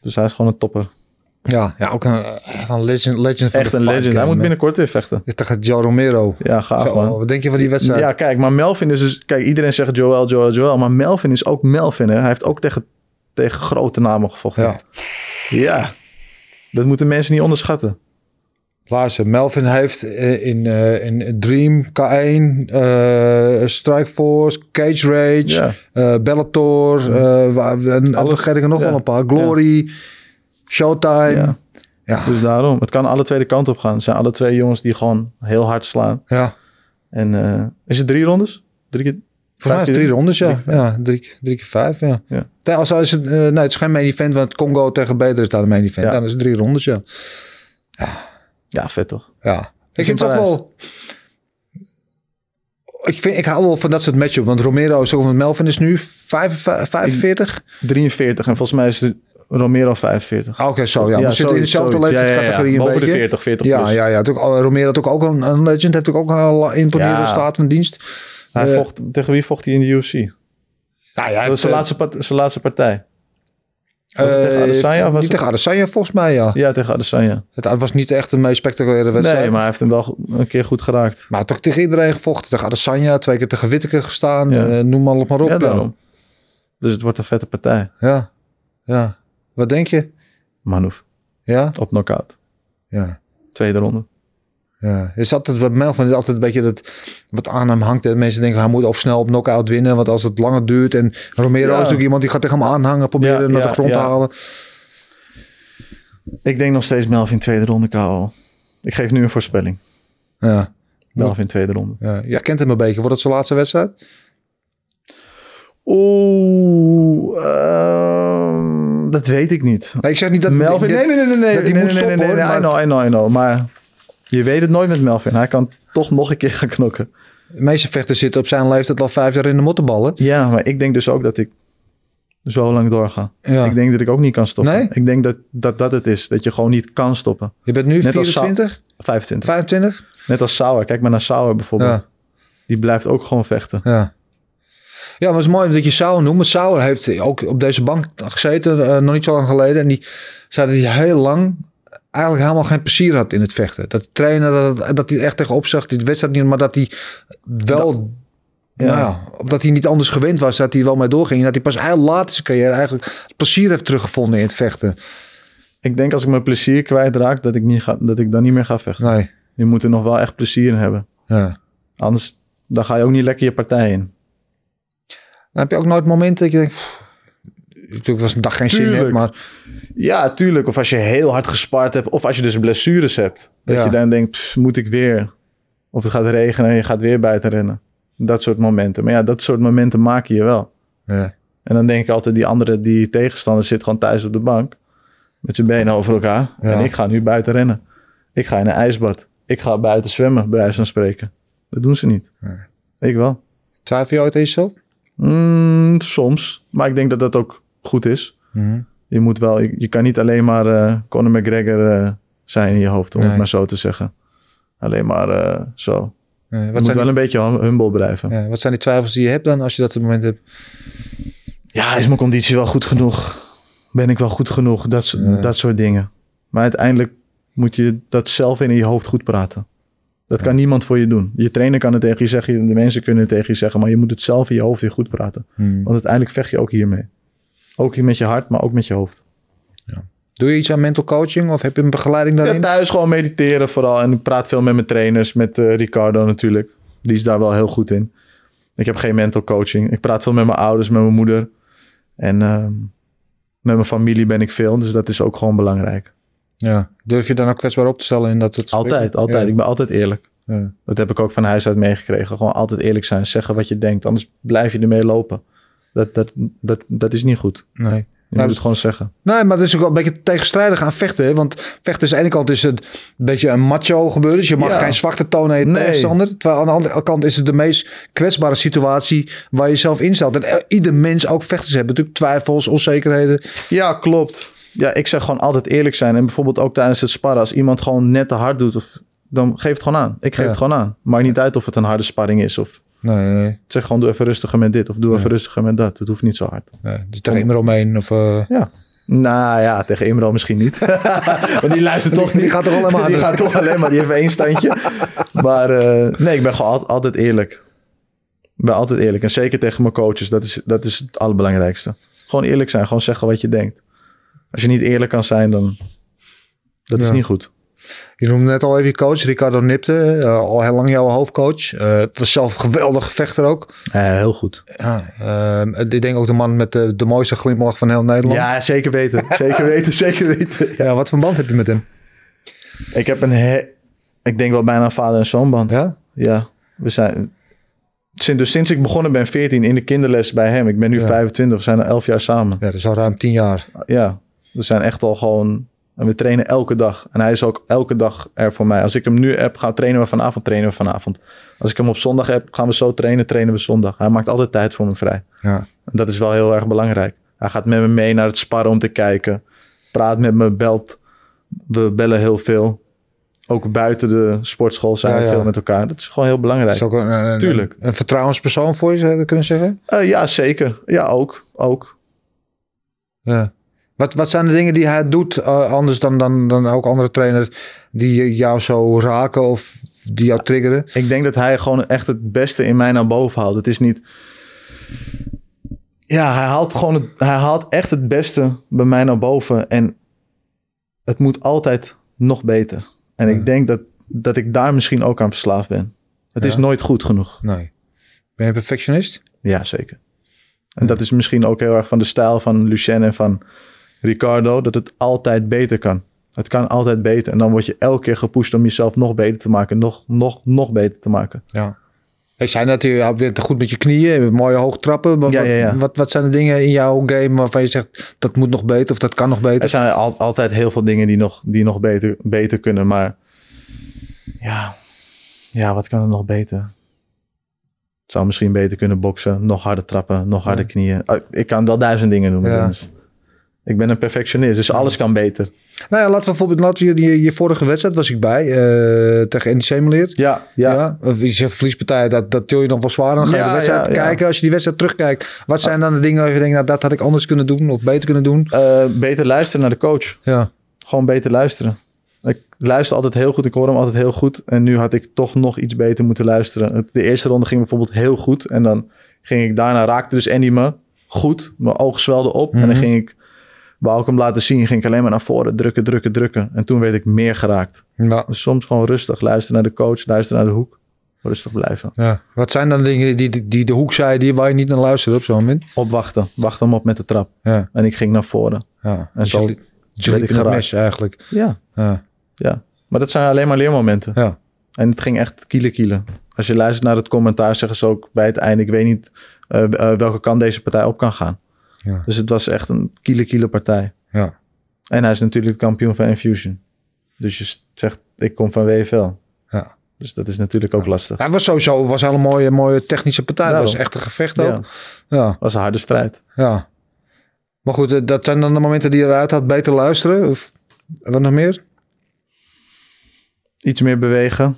Dus hij is gewoon een topper.
Ja, ja ook een, echt een legend, legend van
Echt
de
een legend.
podcast,
Hij moet
man.
binnenkort weer vechten.
Dit tegen Joe Romero.
Ja, gaaf
Zo,
man.
wat denk je van die wedstrijd?
Ja, kijk, maar Melvin is dus... Kijk, iedereen zegt Joel, Joel, Joel. Maar Melvin is ook Melvin, hè. Hij heeft ook tegen, tegen grote namen gevochten.
Ja.
ja. Dat moeten mensen niet onderschatten.
Luister, Melvin heeft eh, in, eh, in Dream, K1, eh Strikeforce, Cage Rage,
Ja.
eh, Bellator, eh, wa- en dan vergeet ik er nog
Ja.
wel een paar. Glory, Showtime. Ja.
Ja.
Ja.
Dus daarom. Het kan alle twee de kant op gaan. Het zijn alle twee jongens die gewoon heel hard slaan. En eh, is het drie rondes? Drie keer?
Volgens mij is het drie rondes, ja. ja drie, drie keer vijf, ja.
Ja.
Tij- Als als het, eh, nee, het is geen main event, want Congo tegen Beter is daar een main event.
Ja.
Dan is het drie rondes, ja.
Ja, vet toch?
Ja. Ik
in
vind het ook
Parijs.
wel... Ik, vind, ik hou wel van dat soort matchup. Want Romero is ook... Want Melvin is nu 45. 45.
43 en volgens mij is het Romero 45.
Ah, Oké, zo ja. we zitten in
zoiets,
dezelfde
zoiets. Ja, ja, ja.
leeftijdscategorie een
Boven
beetje.
de 40, 40
Ja,
plus.
ja, ja. Natuurlijk, al- Romero natuurlijk ook een, een legend. Heeft natuurlijk ook een la- imponerende
Ja.
staat van dienst.
Hij
Eh,
vocht, tegen wie vocht hij in de UFC?
Nou ja, hij
dat
heeft,
was zijn
eh,
laatste, part- zijn laatste partij. was het
eh,
tegen Adesanya of was
niet
het-
tegen Adesanya volgens mij, ja.
Ja, tegen Adesanya.
Het, het was niet echt de meest spectaculaire wedstrijd.
Nee, maar hij heeft hem wel go- een keer goed geraakt.
Maar toch tegen iedereen gevochten. Tegen Adesanya, twee keer tegen Whittaker gestaan.
Ja.
eh, noem maar op maar op.
ja,
ja.
daarom. Dus het wordt een vette partij.
Ja. ja. Wat denk je?
Manouf,
Ja?
op knockout.
Ja.
Tweede ronde.
Ja, is altijd wat Melvin is altijd een beetje dat wat aan hem hangt. En mensen denken hij moet of snel op knockout winnen, want als het langer duurt en Romero
Ja.
is natuurlijk iemand die gaat tegen hem aanhangen, proberen
Ja,
hem naar
ja,
de grond te
ja.
halen.
Ik denk nog steeds Melvin tweede ronde KO. Ik geef nu een voorspelling.
Ja,
Melvin tweede ronde.
ja. Jij kent hem een beetje. Wordt het zijn laatste wedstrijd?
Oeh, ehm, dat weet ik niet.
Nee, ik zeg niet dat
Melvin,
dat-
nee, nee, nee, nee, nee,
dat die
nee,
moet
nee, nee,
stoppen,
nee,
hoor,
nee, I
maar-
know, I know, I know. Maar je weet het nooit met Melvin. Hij kan toch nog een keer gaan knokken.
De meeste vechters zitten op zijn leeftijd al vijf jaar in de mottenballen.
Ja, maar ik denk dus ook dat ik zo lang doorga.
Ja.
Ik denk dat ik ook niet kan stoppen.
Nee?
Ik denk dat, dat dat het is, dat je gewoon niet kan stoppen.
Je bent nu
Net als
24,
25.
25?
Net als Sauer. Kijk maar naar Sauer bijvoorbeeld.
Ja.
Die blijft ook gewoon vechten.
Ja. Ja, maar het is mooi dat je Sauer noemt. Want Sauer heeft ook op deze bank gezeten, eh, nog niet zo lang geleden. En die zei dat hij heel lang eigenlijk helemaal geen plezier had in het vechten. Dat trainen, dat, dat hij er echt tegenop zag, die wedstrijd niet, maar dat hij wel... nou ja, omdat hij niet anders gewend was, dat hij wel mee doorging. En dat hij pas heel laat in zijn carrière eigenlijk het plezier heeft teruggevonden in het vechten.
Ik denk als ik mijn plezier kwijtraak, dat ik, niet ga, dat ik dan niet meer ga vechten.
Nee,
Je moet er nog wel echt plezier in hebben.
ja.
Anders dan ga je ook niet lekker je partij in.
Dan heb je ook nooit momenten dat je denkt... pff, Natuurlijk was een dag geen zin
Tuurlijk.
in, maar
Ja, tuurlijk. Of als je heel hard gespaard hebt. Of als je dus blessures hebt. Dat
Ja.
je dan denkt, "Pff, moet ik weer? Of het gaat regenen en je gaat weer buiten rennen. Dat soort momenten. Maar ja, dat soort momenten maken je wel.
ja.
En dan denk ik altijd, die andere, die tegenstander zit gewoon thuis op de bank. Met zijn benen over elkaar.
Ja.
En ik ga nu buiten rennen. Ik ga in een ijsbad. Ik ga buiten zwemmen, bij wijze van spreken. Dat doen ze niet. Ik wel.
twijfel je ooit aan jezelf?
Mm, soms. Maar ik denk dat dat ook goed is.
Mhm.
Je moet wel, je, je kan niet alleen maar eh Conor McGregor eh, zijn in je hoofd, om
Nee.
het maar zo te zeggen. Alleen maar eh, zo.
Eh,
Je
wat,
moet
zijn
wel
die,
een beetje hum- humble blijven. Ja.
eh, wat zijn die twijfels die je hebt dan als je dat op het moment hebt?
is mijn conditie wel goed genoeg? Ben ik wel goed genoeg? Dat, so-
Ja.
dat soort dingen. Maar uiteindelijk moet je dat zelf in je hoofd goed praten. Dat kan niemand voor je doen. Je trainer kan het tegen je zeggen, de mensen kunnen het tegen je zeggen, maar je moet het zelf in je hoofd weer goed praten.
Hmm.
Want uiteindelijk vecht je ook hiermee. Ook met je hart, maar ook met je hoofd.
Doe je iets aan mental coaching of heb je een begeleiding
Ja,
daarin?
thuis gewoon mediteren vooral. En ik praat veel met mijn trainers, met eh, Ricardo natuurlijk. Die is daar wel heel goed in. Ik heb geen mental coaching. Ik praat veel met mijn ouders, met mijn moeder. En ehm, met mijn familie ben ik veel. Dus dat is ook gewoon belangrijk.
ja. Durf je dan ook kwetsbaar op te stellen in dat het...
Altijd, altijd. Ik ben altijd eerlijk.
Ja, ja.
Dat heb ik ook van huis uit meegekregen. Gewoon altijd eerlijk zijn. Zeggen wat je denkt. Anders blijf je ermee lopen. Dat, dat, dat, dat is niet goed.
Nee.
Je
Nou,
moet het gewoon zeggen.
Nee, maar het is ook wel een beetje tegenstrijdig aan vechten. Hè? Want vechten is aan de ene kant is het een beetje een macho gebeuren. Dus je mag
Ja.
geen zwakte tonen aan je
Nee.
tegenstander. Terwijl aan de andere kant is het de meest kwetsbare situatie waar je zelf in staat. En eh, ieder mens, ook vechters, hebben natuurlijk twijfels, onzekerheden.
Ja, klopt. Ja, ik zeg gewoon altijd eerlijk zijn. En bijvoorbeeld ook tijdens het sparren. Als iemand gewoon net te hard doet, of, dan geef het gewoon aan. Ik geef
Ja.
het gewoon aan. Maakt niet uit of het een harde sparring is. Of
Nee, nee,
zeg gewoon, doe even rustiger met dit. Of doe even rustiger met dat. Het hoeft niet zo hard.
nee. Dus er immer omheen. Of, eh,
Ja. Nou ja, tegen Imro misschien niet. Want die luistert toch
Die- die
niet.
gaat toch alleen maar
Die
harder.
gaat toch alleen maar. Die heeft één standje. maar eh, nee, ik ben gewoon al- altijd eerlijk. Ik ben altijd eerlijk. En zeker tegen mijn coaches. Dat is, dat is het allerbelangrijkste. Gewoon eerlijk zijn. Gewoon zeggen wat je denkt. Als je niet eerlijk kan zijn, dan... Dat is
Ja.
niet goed.
Je noemde net al even je coach, Ricardo Nipte. eh, al heel lang jouw hoofdcoach. Eh, het was zelf een geweldige vechter ook.
Eh, heel goed.
Ja, eh, ik denk ook de man met de, de mooiste glimlach van heel Nederland.
Ja, zeker weten. Zeker weten, zeker weten.
Ja, wat voor band heb je met hem?
Ik heb een... he- ik denk wel bijna een vader- en zoonband.
Ja?
Ja, we zijn. Sinds, dus sinds ik begonnen ben, 14 in de kinderles bij hem. Ik ben nu
Ja.
25, we zijn al 11 jaar samen.
Ja, dat is al ruim tien jaar.
Ja, we zijn echt al gewoon. En we trainen elke dag. En hij is ook elke dag er voor mij. Als ik hem nu heb, gaan trainen we vanavond, trainen we vanavond. Als ik hem op zondag heb, gaan we zo trainen, trainen we zondag. Hij maakt altijd tijd voor me vrij.
Ja.
En dat is wel heel erg belangrijk. Hij gaat met me mee naar het sparren om te kijken. Praat met me, belt. We bellen heel veel. Ook buiten de sportschool zijn
Ja,
we
ja.
veel met elkaar. Dat is gewoon heel belangrijk.
Dat is ook een, een,
Tuurlijk.
een vertrouwenspersoon voor je, zou je kunnen zeggen.
Eh, ja, zeker. Ja, ook. ook.
Ja. Wat, wat zijn de dingen die hij doet, eh, anders dan, dan, dan ook andere trainers, die jou zo raken of die jou triggeren?
Ik denk dat hij gewoon echt het beste in mij naar boven haalt. Het is niet... Ja, hij haalt, gewoon het, hij haalt echt het beste bij mij naar boven. En het moet altijd nog beter. En ik denk dat, dat ik daar misschien ook aan verslaafd ben. Het is nooit goed genoeg.
Nee. Ben je perfectionist?
Ja, zeker. En dat is misschien ook heel erg van de stijl van Lucien en van Ricardo, dat het altijd beter kan. Het kan altijd beter. En dan word je elke keer gepusht om jezelf nog beter te maken, nog, nog, nog beter te maken.
Ja. Ik zei net, je houdt weer goed met je knieën, je hebt mooie hoogtrappen. Wat,
Ja,
wat-
ja, ja.
Wat, wat zijn de dingen in jouw game waarvan je zegt, dat moet nog beter of dat kan nog
Er
beter?
zijn al, altijd heel veel dingen die nog, die nog beter, beter kunnen, maar ja. ja, wat kan er nog beter? Het zou misschien beter kunnen boksen, nog harder trappen, nog harder knieën. Ah, Ik kan wel duizend dingen noemen.
Ja.
Dennis. Ik ben een perfectionist, dus alles kan beter.
Nou ja, laten we bijvoorbeeld, laten we je, je vorige wedstrijd was ik bij, eh, tegen Andy Semeleer.
Ja, ja.
Ja. of je zegt verliespartij, dat, dat til je nog wel zwaar. Dan ga je
Ja,
de wedstrijd
ja, ja.
kijken. Als je die wedstrijd terugkijkt, wat zijn dan de dingen waarvan je denkt, nou, dat had ik anders kunnen doen of beter kunnen doen?
Eh, beter luisteren naar de coach.
Ja,
Gewoon beter luisteren. Ik luister altijd heel goed. Ik hoor hem altijd heel goed. En nu had ik toch nog iets beter moeten luisteren. Het- De eerste ronde ging bijvoorbeeld heel goed. En dan ging ik daarna, raakte dus Andy me goed. Mijn oog zwelde op. En dan ging ik, wou ik hem laten zien, ging ik alleen maar naar voren. Drukken, drukken, drukken. En toen werd ik meer geraakt.
ja,
Dus soms gewoon rustig. Luisteren naar de coach, luisteren naar de hoek. rustig blijven.
Ja. Wat zijn dan dingen die, die, die de hoek zei, die waar je niet naar luisterde op zo'n moment?
Opwachten. Wacht hem op met de trap.
Ja.
En ik ging naar voren.
ja.
En zo
je, je
werd
liep
ik
in het
geraakt.
mes eigenlijk.
Ja,
Ja.
ja. Maar dat zijn alleen maar leermomenten.
Ja.
En het ging echt kielen kielen. Als je luistert naar het commentaar, zeggen ze ook bij het einde... ik weet niet eh, eh, welke kant deze partij op kan gaan.
Ja.
Dus het was echt een kielen kielen partij.
Ja.
En hij is natuurlijk kampioen van Infusion. Dus je zegt, ik kom van WFL.
Ja.
Dus dat is natuurlijk ook lastig.
Hij was sowieso was een hele mooie, mooie technische partij.
Ja.
Dat was echt een gevecht
Ja,
ook. Ja.
was een harde strijd.
ja. Maar goed, eh, dat zijn dan de momenten die je eruit had. Beter luisteren? Of wat nog meer?
Iets meer bewegen.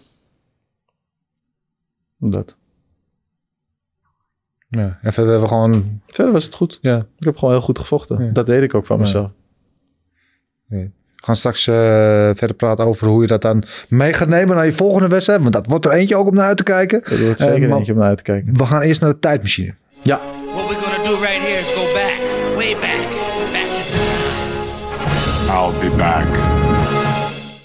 Dat.
Ja. En verder hebben we gewoon...
Verder was het goed.
Ja.
Ik heb gewoon heel goed gevochten.
Ja.
Dat weet ik ook van
Ja.
mezelf.
We gaan straks eh, verder praten over hoe je dat dan mee gaat nemen naar je volgende wedstrijd. Want dat wordt er eentje ook om naar uit te kijken.
Dat wordt
Eh,
zeker
maar-
eentje om naar uit te kijken.
We gaan eerst naar de tijdmachine.
Ja.
What we're gonna do right here is go back, way back, back to
I'll be back.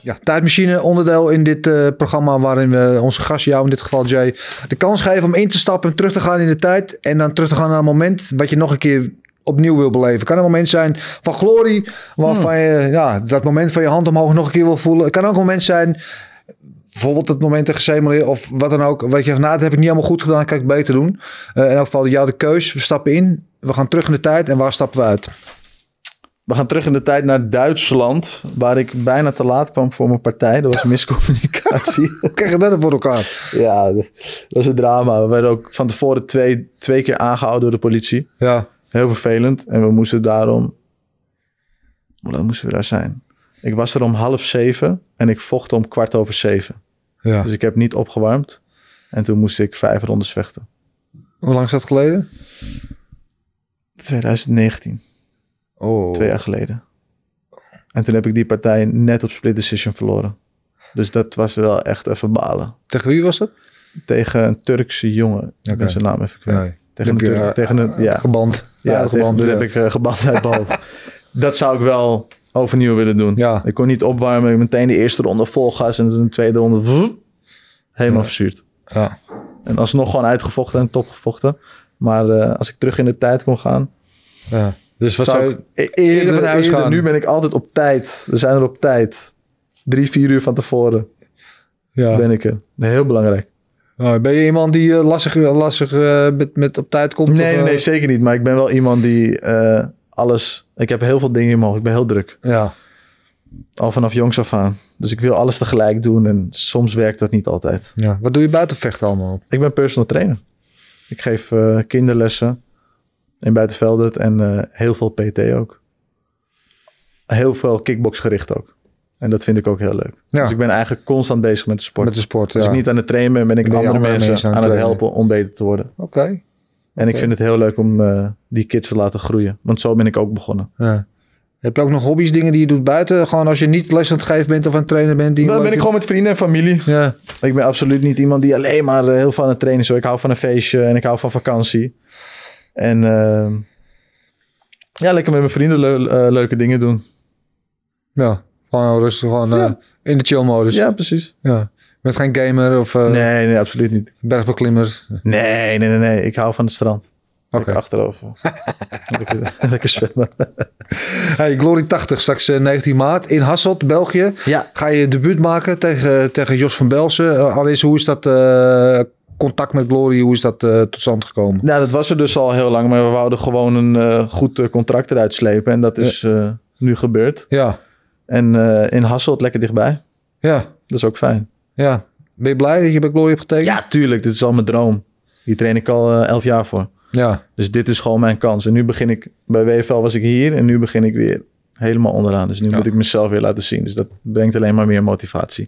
Ja, tijdmachine, onderdeel in dit eh, programma waarin we onze gast, jou in dit geval Jay, de kans geven om in te stappen en terug te gaan in de tijd. En dan terug te gaan naar een moment wat je nog een keer opnieuw wil beleven. Kan een moment zijn van glorie, waarvan je ja, dat moment van je hand omhoog nog een keer wil voelen. Het kan ook een moment zijn, bijvoorbeeld het moment tegen Semeler of wat dan ook. Weet je, van, nou, dat heb ik niet helemaal goed gedaan, kan ik beter doen. Eh, in elk geval, jou de keus. We stappen in, we gaan terug in de tijd en waar stappen we uit?
We gaan terug in de tijd naar Duitsland, waar ik bijna te laat kwam voor mijn partij. Dat was miscommunicatie.
Hoe krijg je dat voor elkaar?
ja, dat was een drama. We werden ook van tevoren twee, twee keer aangehouden door de politie.
Ja,
Heel vervelend. En we moesten daarom... Maar dan moesten we daar zijn. Ik was er om half zeven en ik vocht om kwart over zeven.
ja.
Dus ik heb niet opgewarmd. En toen moest ik vijf rondes vechten.
Hoe lang is dat geleden?
2019,
Oh.
twee jaar geleden. En toen heb ik die partij net op split decision verloren. Dus dat was wel echt even balen.
Tegen wie was dat?
Tegen een Turkse jongen. Ik ben zijn naam even kwijt.
Nee.
Tegen, een
Heb je,
Turk-
eh,
tegen een...
Ja.
Ja,
Geband.
ja,
Ja,
tegen-
geband.
dat
ja.
heb ik eh, geband uit mijn hoofd. Dat zou ik wel overnieuw willen doen.
Ja.
Ik kon niet opwarmen. Ik meteen de eerste ronde vol gas. En toen de tweede ronde... vroep, helemaal verzuurd.
Ja.
En alsnog gewoon uitgevochten en topgevochten. Maar eh, als ik terug in de tijd kon gaan...
Ja. Dus wat
Zou
zou
ik e- eerder,
eerder van huis
eerder.
gaan?
Nu ben ik altijd op tijd. We zijn er op tijd. Drie, vier uur van tevoren
Ja.
ben ik er. Heel belangrijk.
Nou, ben je iemand die eh, lastig, lastig eh, met, met op tijd komt?
Nee,
of,
nee,
eh,
nee, zeker niet. Maar ik ben wel iemand die eh, alles... Ik heb heel veel dingen in mijn hoofd. Ik ben heel druk.
Ja.
Al vanaf jongs af aan. Dus ik wil alles tegelijk doen. En soms werkt dat niet altijd.
ja. Wat doe je buiten vechten allemaal?
Ik ben personal trainer. Ik geef eh, kinderlessen in Buitenveldert. En eh, heel veel PT ook. Heel veel kickboxgericht ook. En dat vind ik ook heel leuk.
Ja.
Dus ik ben eigenlijk constant bezig met de sport.
Met de sport.
Als
ja.
ik niet aan het trainen ben, ben ik
Ben je
andere,
andere
mensen,
mensen
aan,
aan het
het
trainen.
helpen om beter te worden.
Oké.
En ik vind het heel leuk om eh, die kids te laten groeien. Want zo ben ik ook begonnen.
Ja. Heb je ook nog hobby's, dingen die je doet buiten? Gewoon als je niet les aan het geven bent of aan het trainen bent. Die je
Dan
leuk
ben ik
vindt?
gewoon met vrienden en familie.
Ja.
Ik ben absoluut niet iemand die alleen maar eh, heel veel aan het trainen is. hoor. Ik hou van een feestje en ik hou van vakantie. En eh, ja, lekker met mijn vrienden leu- eh, leuke dingen doen.
ja. Gewoon rustig. Gewoon eh,
Ja.
in de chill modus.
Ja, precies.
Ja. Je bent geen gamer of eh
Dus Nee, nee, absoluut niet.
bergbeklimmer.
Nee, nee, nee, nee. Ik hou van het strand.
Oké.
Lekker achterover. lekker, lekker zwemmen.
Hey, Glory 80, straks eh, 19 maart in Hasselt, België.
Ja.
Ga je debuut maken tegen, eh, tegen Jos van Belsen. Eh, Allereerst, hoe is dat eh, contact met Glory, hoe is dat eh, tot stand gekomen?
Nou, dat was er dus al heel lang, maar we wouden gewoon een eh, goed eh, contract eruit slepen. En dat is eh, nu gebeurd.
Ja,
En eh, in Hasselt lekker dichtbij.
ja,
Dat is ook fijn.
ja. Ben je blij dat je bij Glory hebt getekend?
Ja, tuurlijk. Dit is al mijn droom. Hier train ik al eh, elf jaar voor.
Ja,
Dus dit is gewoon mijn kans. En nu begin ik, bij WFL was ik hier en nu begin ik weer helemaal onderaan. Dus nu moet ik mezelf weer laten zien. Dus dat brengt alleen maar meer motivatie.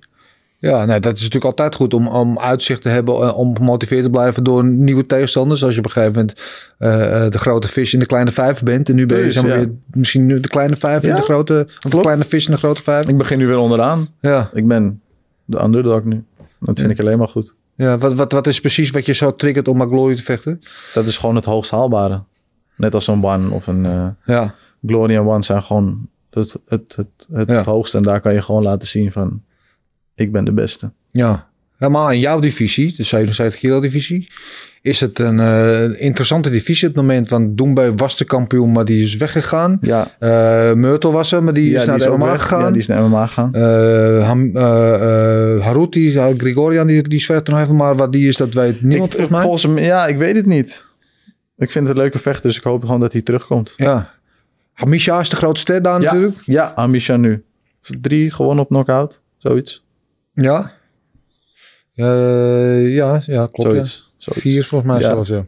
ja nou, dat is natuurlijk altijd goed om, om uitzicht te hebben, eh, om gemotiveerd te blijven door nieuwe tegenstanders. Als je op een gegeven moment eh, eh, de grote vis in de kleine vijf bent. En nu ben je
Dus,
zeg maar,
ja.
weer misschien nu de kleine vijf in
Ja,
de grote, of de
klopt.
kleine vis in de grote vijf.
Ik begin nu weer onderaan.
Ja.
Ik ben de underdog nu. Dat vind ik alleen maar goed.
Ja, wat, wat, wat is precies wat je zo triggert om maar Glory te vechten?
Dat is gewoon het hoogst haalbare. Net als een one of een... eh,
Ja,
Glory en One zijn gewoon het, het, het, het
Ja.
hoogste. En daar kan je gewoon laten zien van... Ik ben de beste.
ja. helemaal in jouw divisie, de 77 kilo divisie, is het een eh, interessante divisie op het moment. Want Doembe was de kampioen, maar die is weggegaan.
Ja.
Eh, Meurtel was er, maar die
Ja,
is naar de
ook
MMA
weg. Ja,
gegaan.
die is naar MMA gegaan.
Eh, Ham- eh, eh, Harut, die, eh, Grigorian, die, die zwerft er nog even, maar wat die is, dat weet niemand
ik,
volgens mij.
volgens mij- Ja, ik weet het niet. Ik vind het een leuke vecht, dus ik hoop gewoon dat hij terugkomt.
Ja. Hamisha is de grootste ster daar natuurlijk.
Ja, Amisha nu. Drie gewonnen op knockout. Zoiets.
Ja. Eh, ja, ja, klopt. Ja.
Zoiets. Zoiets.
Vier is volgens mij
Ja.
zelfs, ja.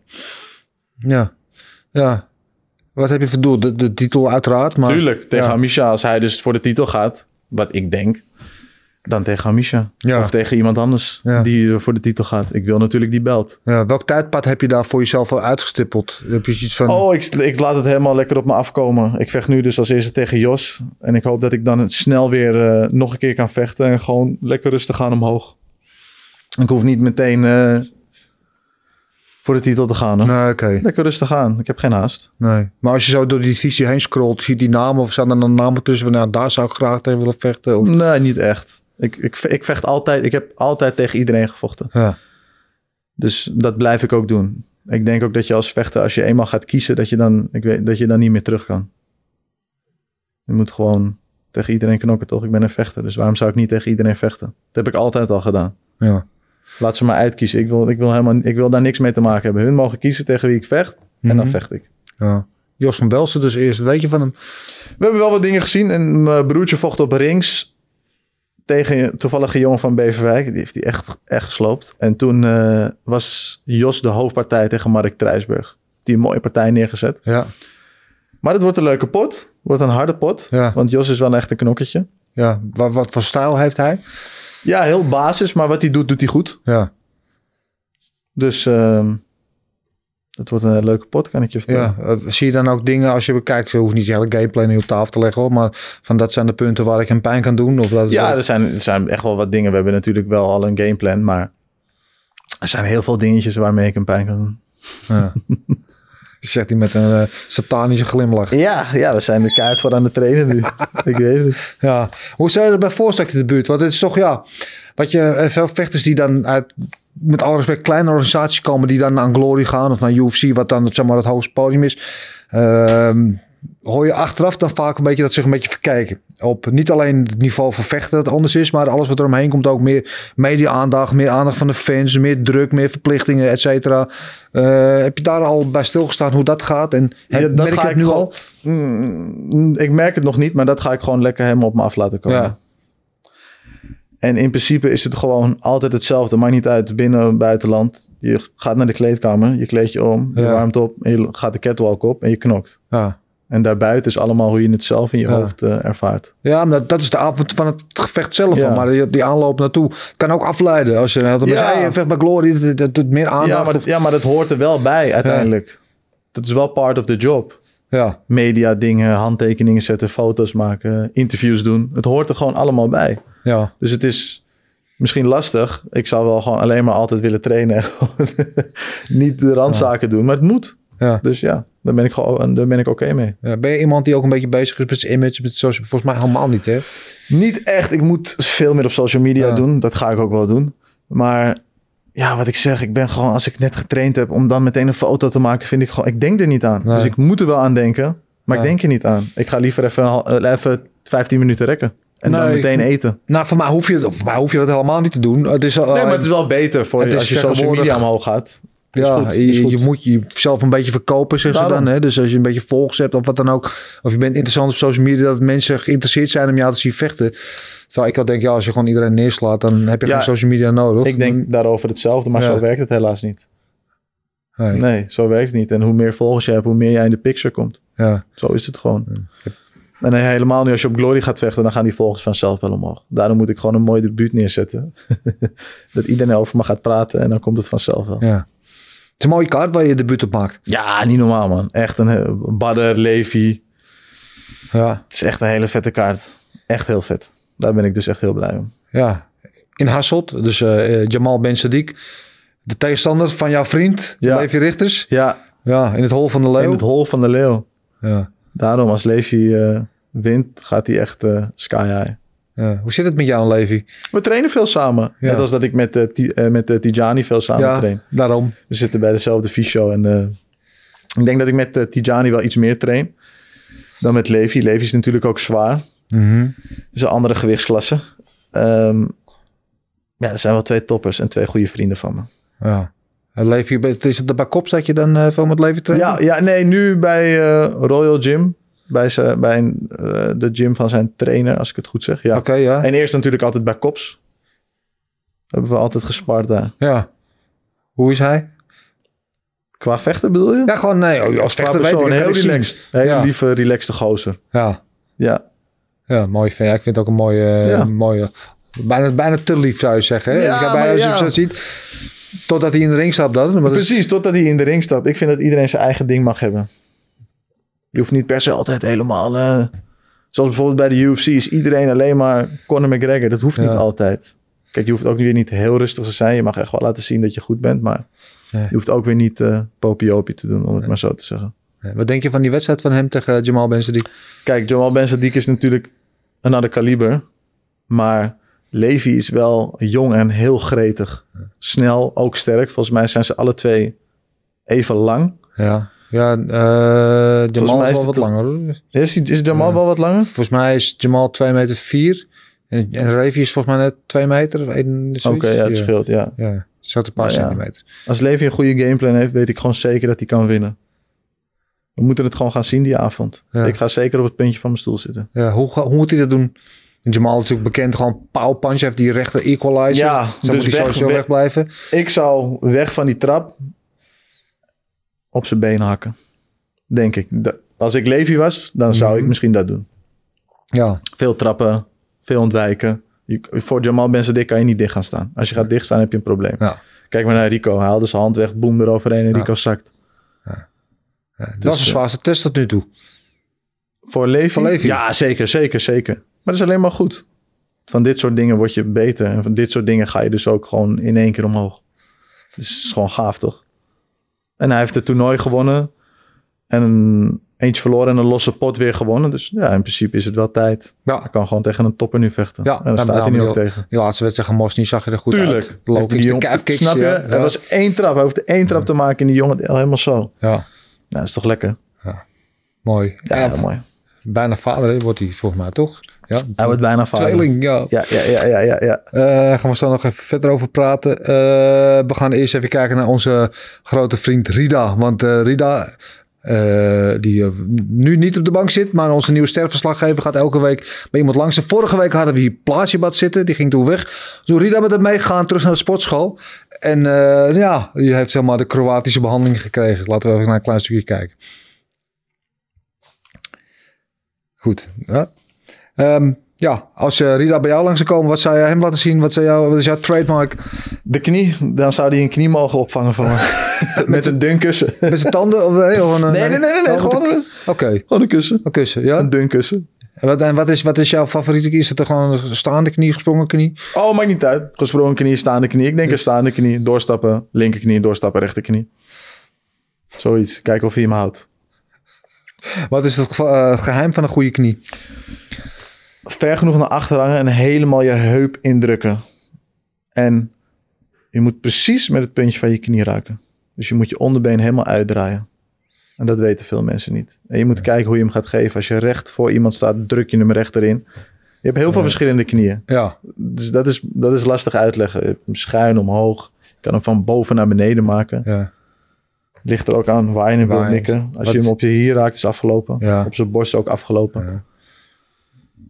Ja. Ja. Wat heb je verdoeld? De, de titel uiteraard, maar...
Tuurlijk, tegen
ja.
Amisha. Als hij dus voor de titel gaat, wat ik denk, dan tegen Amisha.
Ja.
Of tegen iemand anders
Ja.
die er voor de titel gaat. Ik wil natuurlijk die belt.
Ja, welk tijdpad heb je daar voor jezelf al uitgestippeld? Heb je iets van...
Oh, ik, ik laat het helemaal lekker op me afkomen. Ik vecht nu dus als eerste tegen Jos. En ik hoop dat ik dan snel weer eh, nog een keer kan vechten. En gewoon lekker rustig gaan omhoog. Ik hoef niet meteen eh, voor de titel te gaan. Hoor.
Nee, oké.
Lekker rustig aan. Ik heb geen haast.
Nee. Maar als je zo door die divisie heen scrolt, zie je die namen of staan er dan namen tussen van, nou, daar zou ik graag tegen willen vechten? Of...
Nee, niet echt. Ik, ik, ik vecht altijd. Ik heb altijd tegen iedereen gevochten.
Ja.
Dus dat blijf ik ook doen. Ik denk ook dat je als vechter, als je eenmaal gaat kiezen, dat je dan, ik weet, dat je dan niet meer terug kan. Je moet gewoon tegen iedereen knokken, toch? Ik ben een vechter, dus waarom zou ik niet tegen iedereen vechten? Dat heb ik altijd al gedaan.
Ja.
Laat ze maar uitkiezen. Ik wil, ik wil, helemaal, ik wil daar niks mee te maken hebben. Hun mogen kiezen tegen wie ik vecht en dan
Mhm.
vecht ik.
ja. Jos van Belsen dus eerst. Weet je van hem?
We hebben wel wat dingen gezien. En mijn broertje vocht op rings tegen een toevallige jongen van Beverwijk. Die heeft hij echt, echt gesloopt. En toen eh, was Jos de hoofdpartij tegen Mark Trijsberg. Die een mooie partij neergezet.
Ja.
Maar het wordt een leuke pot. Wordt een harde pot.
Ja.
Want Jos is wel echt een knokketje.
ja. Wat, wat voor stijl heeft hij?
Ja, heel basis. Maar wat hij doet, doet hij goed.
Ja.
Dus ehm het wordt een leuke pot, kan ik je vertellen.
ja. Eh, zie je dan ook dingen als je bekijkt? Je hoeft niet je hele gameplay nu op tafel te leggen, hoor, maar van dat zijn de punten waar ik hem pijn kan doen. Of dat eh, is
Ja, dus- er zijn, er zijn echt wel wat dingen. We hebben natuurlijk wel al een gameplan. Maar er zijn heel veel dingetjes waarmee ik hem pijn kan doen.
Ja. Zegt hij met een eh, satanische glimlach.
Ja, ja, we zijn de kaart voor aan het trainen nu. ik weet het.
Ja. Hoe zou je erbij voorstellen in de buurt? Want het is toch, ja, wat je eh, veel vechters die dan uit, met alle respect, kleine organisaties komen, die dan naar Glory gaan of naar UFC, wat dan zeg maar het hoogste podium is. Ehm, hoor je achteraf dan vaak een beetje dat ze zich een beetje verkijken. Op niet alleen het niveau van vechten dat anders is, maar alles wat er omheen komt ook meer media-aandacht, meer aandacht van de fans, meer druk, meer verplichtingen, et cetera. Eh, heb je daar al bij stilgestaan hoe dat gaat? En heb-
dat
merk je het nu
gewoon-
al?
Mm, ik merk het nog niet, maar dat ga ik gewoon lekker helemaal op me af laten komen.
Ja.
En in principe is het gewoon altijd hetzelfde. Maakt niet uit, binnen, buitenland. Je gaat naar de kleedkamer, je kleed je om, je
Ja.
warmt op, en je gaat de catwalk op en je knokt.
Ja.
En daarbuiten is allemaal hoe je het zelf in je
Ja.
hoofd eh, ervaart.
Ja, maar dat, dat is de avond van het gevecht zelf.
Ja.
al, Maar die, die aanloop naartoe kan ook afleiden. Als je had een
Ja.
hey, vecht bij Glory, dat- dat doet meer aandacht.
Ja maar, dat,
of-
ja, maar dat hoort er wel bij uiteindelijk. Dat is wel part of the job.
ja.
Media dingen, handtekeningen zetten, foto's maken, interviews doen. Het hoort er gewoon allemaal bij.
ja.
Dus het is misschien lastig. Ik zou wel gewoon alleen maar altijd willen trainen. en gewoon Niet de randzaken doen, maar het moet.
Ja.
Dus ja, daar ben ik, gewoon- daar ben ik oké mee.
Ja, Ben je iemand die ook een beetje bezig is met zijn image? Met social, volgens mij helemaal niet, hè?
Niet echt. Ik moet veel meer op social media
Ja.
doen. Dat ga ik ook wel doen. Maar ja, wat ik zeg, ik ben gewoon, als ik net getraind heb, om dan meteen een foto te maken, vind ik gewoon, ik denk er niet aan.
Nee.
Dus ik moet er wel aan denken, maar ik
Ja.
denk er niet aan. Ik ga liever even, een hal- eh, even 15 minuten rekken. En dan
Nee, ik-
meteen eten.
Nou, voor mij hoef je, voor mij hoef je dat helemaal niet te doen. Het is, al-
Nee, maar het is wel beter voor
Het
je
is
als je social
tegenwoordig-
media omhoog gaat. Is
ja,
goed, is
je,
goed.
je moet jezelf een beetje verkopen, zeg ze
Daarom.
dan. Hè? Dus als je een beetje volgers hebt of wat dan ook. Of je bent interessant op social media, dat mensen geïnteresseerd zijn om jou te zien vechten. Terwijl ik al denk, ja, als je gewoon iedereen neerslaat, dan heb je
Ja,
geen social media nodig.
Ik denk daarover hetzelfde, maar
Ja.
zo werkt het helaas niet.
Nee.
Nee, zo werkt het niet. En hoe meer volgers je hebt, hoe meer jij in de picture komt.
Ja.
Zo is het gewoon. En dan helemaal nu als je op Glory gaat vechten, dan gaan die volgers vanzelf wel omhoog. Daarom moet ik gewoon een mooi debuut neerzetten. dat iedereen over me gaat praten en dan komt het vanzelf wel. Ja,
Ja. Het is een mooie kaart waar je debuut op maakt.
niet normaal man. Echt een he- Badder, Levi.
Ja.
Het is echt een hele vette kaart. Echt heel vet. Daar ben ik dus echt heel blij om.
ja. In Hasselt, dus eh, eh, Jamal Ben Sadiq. De tegenstander van jouw vriend,
Ja.
Levi Richters.
Ja,
Ja, in het hol van de leeuw.
in het hol van de leeuw.
ja.
Daarom als Levi eh, wint, gaat hij echt eh, sky high.
Ja. Hoe zit het met jou, Levi?
We trainen veel samen.
Ja.
Net als dat ik met, eh, Ti- eh, met eh, Tijani veel samen train.
daarom.
We zitten bij dezelfde fysio. En eh, ik denk dat ik met eh, Tijani wel iets meer train dan met Levi. Levi is natuurlijk ook zwaar.
Mhm.
Het is een andere gewichtsklasse. Ehm, ja, er zijn wel twee toppers en twee goede vrienden van me.
Ja. En Levi, het is op de bakop dat je dan eh, veel met Levi traint?
Ja, ja, nee, nu bij eh, Royal Gym. Bij, zijn, bij een, eh, de gym van zijn trainer, als ik het goed zeg. Ja.
Oké, ja.
En eerst natuurlijk altijd bij Kops. Hebben we altijd gespart daar.
ja. Hoe is hij?
Qua vechten bedoel je?
Ja, gewoon nee. oh, Als
Qua
vechter weet ik
persoon,
het
heel
heel
relaxed. Hele
Ja.
lieve, relaxte gozer.
Ja.
Ja.
ja, mooi. fan. Ja, ik vind het ook een mooie... eh,
Ja.
mooie bijna, bijna te lief zou je zeggen. Hè?
Ja,
Ja,
maar
bijna als je hem
ja.
zo ziet. Totdat hij in de ring stapt dan. Maar dat is-
Precies, totdat hij in de ring stapt. Ik vind dat iedereen zijn eigen ding mag hebben. Je hoeft niet per se altijd helemaal... eh, zoals bijvoorbeeld bij de UFC is iedereen alleen maar Conor McGregor. Dat hoeft
Ja.
niet altijd. Kijk, je hoeft ook weer niet heel rustig te zijn. Je mag echt wel laten zien dat je goed bent. Maar
Nee.
je hoeft ook weer niet eh popiopie te doen, om het maar zo te zeggen.
Wat denk je van die wedstrijd van hem tegen eh, Jamal Benzadik?
Kijk, Jamal Ben Sadiq is natuurlijk een ander kaliber. Maar Levi is wel jong en heel gretig. Snel, ook sterk. Volgens mij zijn ze alle twee even lang.
Ja. Ja, eh Jamal
mij
is wel
is het
wat
een-
langer. hoor.
Is, die- is Jamal wel wat langer?
Volgens mij is Jamal 2 meter 4. En, en Ravi is volgens mij net 2 meter. of één- zoiets.
Oké, ja, het
ja.
scheelt, ja.
Ja, zat een paar
Nou ja.
centimeter.
Als Levi een goede gameplan heeft, weet ik gewoon zeker dat hij kan winnen. We moeten het gewoon gaan zien die avond.
Ja.
Ik ga zeker op het puntje van mijn stoel zitten.
Ja, hoe, ga- hoe moet hij dat doen? Jamal is natuurlijk bekend, gewoon power punch. Hij heeft die rechter equalizer.
Ja,
Zo
dus
moet hij
weg-
sowieso
weg-
wegblijven.
Ik zou weg van die trap op zijn been hakken. Denk ik. Da- Als ik Levi was, dan
Mhm.
zou ik misschien dat doen.
Ja,
Veel trappen, veel ontwijken. Je, voor Jamal Ben kan je niet dicht gaan staan. Als je gaat dichtstaan heb je een probleem.
Ja.
Kijk maar naar Rico. Hij haalde zijn hand weg, boem eroverheen en Rico zakt.
dat is de
eh,
zwaarste test tot nu toe.
Voor Levi?
Voor Levi.
Ja, zeker, zeker, zeker. Maar dat is alleen maar goed. Van dit soort dingen word je beter. En van dit soort dingen ga je dus ook gewoon in één keer omhoog. Dus het is gewoon gaaf, toch? En hij heeft het toernooi gewonnen. En een, eentje verloren en een losse pot weer gewonnen. Dus ja, in principe is het wel tijd. Hij
Ja,
kan gewoon tegen een topper nu vechten.
Ja,
en
daar
dan staat hij
ben
nu
ik
ook
wel-
tegen.
Nou, die laatste wedstrijd tegen Mosny zag je er goed uit. Low
Heeft hij
kicks,
die
de
jongen-
calf kicks.
Snap je?
ja,
Er
ja,
was één trap. Hij hoefde één trap te maken en die jongen had helemaal zo. Nou,
ja,
dat is toch lekker?
mooi.
Ja,
Ja,
mooi.
Bijna vader hè, wordt hij volgens mij, toch? Ja,
Hij wordt bijna vader.
tweeling, ja.
Ja, ja, ja, ja, ja, ja.
Eh, gaan we zo nog even verder over praten. Eh, we gaan eerst even kijken naar onze grote vriend Rida. Want eh, Rida, eh, die eh, nu niet op de bank zit, maar onze nieuwe sterverslaggever gaat elke week bij iemand langs. En vorige week hadden we hier Plaatjebad zitten, die ging toen weg. Toen Rida met hem meegegaan, terug naar de sportschool. En eh, ja, die heeft zeg maar de Kroatische behandeling gekregen. Laten we even naar een klein stukje kijken. Goed, ja. Ehm, ja, als eh, Rida bij jou langs zou komen, wat zou jij hem laten zien? Wat, zou jou, wat is jouw trademark?
De knie, dan zou hij een knie mogen opvangen van me. Met een dunkussen.
Met zijn tanden? Of, nee, of een,
Nee, nee, nee, nee,
Oh,
gewoon,
met een-
een,
Oké,
gewoon een kussen.
een kussen, ja.
Een dunkussen.
En wat, en wat, is, wat is jouw favoriete knie? Is het er gewoon een staande knie, gesprongen knie?
Oh, maakt niet uit. Gesprongen knie, staande knie. Ik denk een staande knie. Doorstappen, linkerknie, doorstappen, rechterknie. Zoiets. Kijken of hij hem houdt.
Wat is het geva- eh, geheim van een goede knie?
Ver genoeg naar achter hangen en helemaal je heup indrukken. En je moet precies met het puntje van je knie raken. Dus je moet je onderbeen helemaal uitdraaien. En dat weten veel mensen niet. En je moet kijken hoe je hem gaat geven. Als je recht voor iemand staat, druk je hem recht erin. Je hebt heel veel verschillende knieën.
Ja,
Dus dat is, dat is lastig uitleggen. Je hebt hem schuin omhoog. Je kan hem van boven naar beneden maken.
ja,
Ligt er ook aan waar je hem
Waar
wilt
je-
mikken. Als
wat-
je hem op je hier raakt, is afgelopen.
Ja.
Op zijn borst ook afgelopen.
Ja.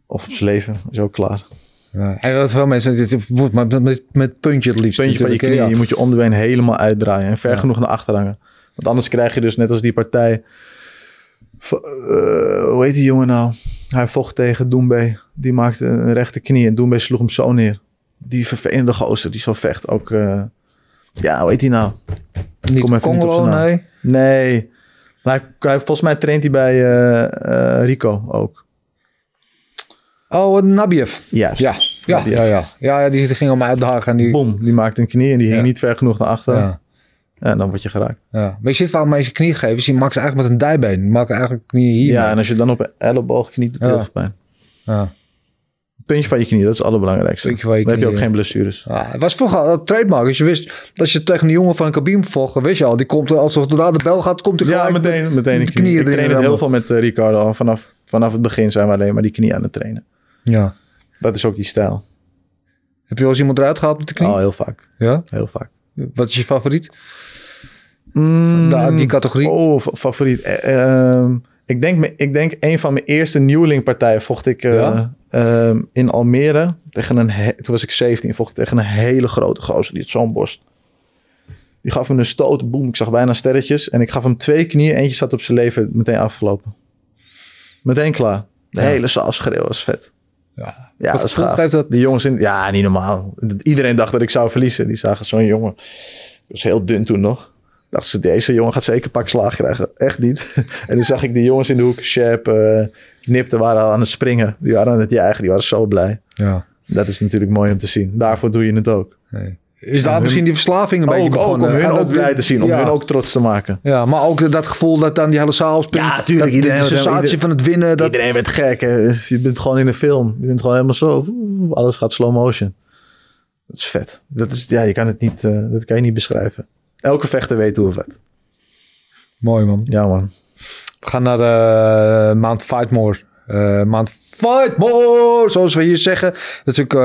Of op zijn leven, is ook klaar.
ja. En dat veel mensen, dit wordt maar met, met puntje het liefst.
Puntje van je knie.
natuurlijk, hè,
Je moet je onderbeen helemaal uitdraaien. En ver genoeg naar achter hangen. Want anders krijg je dus net als die partij... v- eh, hoe heet die jongen nou? Hij vocht tegen Doembe. Die maakte een rechte knie. En Doembe sloeg hem zo neer. Die vervelende gozer. Die zo vecht ook... eh, ja, hoe heet die nou?
Niet
Kom even niet op
Congolo,
zijn naam.
nee.
Nee. Maar hij- hij- volgens mij traint hij bij eh, eh, Rico ook.
Oh, een Nabiev.
Juist.
Ja, ja,
Nabiev.
ja, ja. ja, ja, die ging om uitdagen. En die,
Bom, eh. die maakt een knie en die hing
Ja.
niet ver genoeg naar achter.
ja,
En dan word je geraakt.
ja. Maar je ziet waarom mensen knie geven. Ze maken ze eigenlijk met een dijbeen. Die maken eigenlijk knieën hier.
Ja, en als je dan op een elleboog kniet, doet het
Ja.
heel veel pijn.
Ja.
Puntje van je knie, dat is het allerbelangrijkste.
Puntje van je
Dan heb je
knie,
ook
ja.
geen blessures.
Ja, het was vroeger al een trademark. Dus je wist, als je tegen een jongen van een kabine vocht, dan wist je al, die komt er alsof er aan de bel gaat, komt hij
Ja,
gelijk
meteen,
met-
meteen
met
een
de
knie. Ik
knieën
train
erin.
het
rammen.
heel veel met eh, Ricardo al. Vanaf, vanaf het begin zijn we alleen maar die knie aan het trainen.
Ja.
Dat is ook die stijl.
Heb je wel eens iemand eruit gehaald met de knie?
Al heel vaak.
Ja.
Heel vaak.
Wat is je favoriet? Nou, die categorie.
Oh, fa- favoriet. Eh, ehm, ik, denk, me- ik denk een van mijn eerste nieuwelingpartijen vocht ik eh,
Ja?
ehm, in Almere. Tegen een he- Toen was ik 17, vocht ik tegen een hele grote gozer. Die had zo'n borst. Die gaf me een stoot, boem, ik zag bijna sterretjes. En ik gaf hem twee knieën, eentje zat op zijn leven, meteen afgelopen. Meteen klaar. De hele zaal schreeuwen was vet. Ja, ja
Wat
dat is
gevoel
gaaf.
geeft dat?
Die jongens in... Ja, niet normaal. Iedereen dacht dat ik zou verliezen. Die zagen zo'n jongen. Ik was heel dun toen nog. Dachten ze, deze jongen gaat zeker een pak slaag krijgen. Echt niet. En toen zag ik die jongens in de hoek, Shep, eh Nipte, waren al aan het springen. Die waren aan het jagen, die waren zo blij.
Ja.
Dat is natuurlijk mooi om te zien. Daarvoor doe je het ook.
Is daar misschien die verslaving een beetje
Ook, ook om
begonnen?
hun
Aan
ook
dat-
blij te zien, om
ja.
hun ook trots te maken.
Ja, maar ook dat gevoel dat dan die hele zaal springt.
Ja, tuurlijk,
Dat,
iedereen-
de sensatie
iedereen-
van het winnen. Dat,
Iedereen werd gek. Hè? Dus Je bent gewoon in een film. Je bent gewoon helemaal zo. oeh, Alles gaat slow motion. Dat is vet. Dat is, ja, je kan het niet, eh, dat kan je niet beschrijven. Elke vechter weet hoe vet.
Mooi man.
Ja, man.
We gaan naar de maand Fightmore. Eh maand Fightmore, zoals we hier zeggen. Dat is ook eh,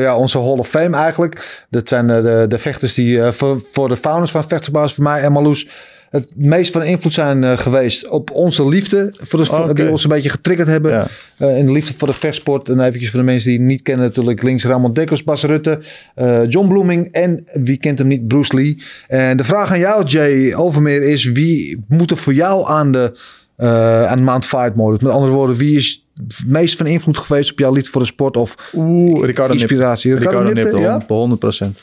ja, onze Hall of Fame eigenlijk. Dat zijn eh, de, de vechters die eh, voor, voor de founders van Vechtersbaas, voor mij en Marloes, het meest van invloed zijn eh, geweest op onze liefde. Voor de, voor-
Oké.
Die ons een beetje getriggerd hebben.
Ja.
Eh, in de liefde voor de vechtsport. En eventjes voor de mensen die het niet kennen natuurlijk. Links Ramon Dekkers, Bas Rutte, eh, John Bloeming en wie kent hem niet, Bruce Lee. En de vraag aan jou Jay Overmeer is wie moet er voor jou aan de, eh, aan de maand fight mode? Met andere woorden, wie is het meest van invloed geweest op jouw liefde voor de sport? Of
Oeh, Ricardo Nipte.
Inspiratie. Ricardo
Ricardo,
Nipte,
Nipte,
ja?
hond- de 100%.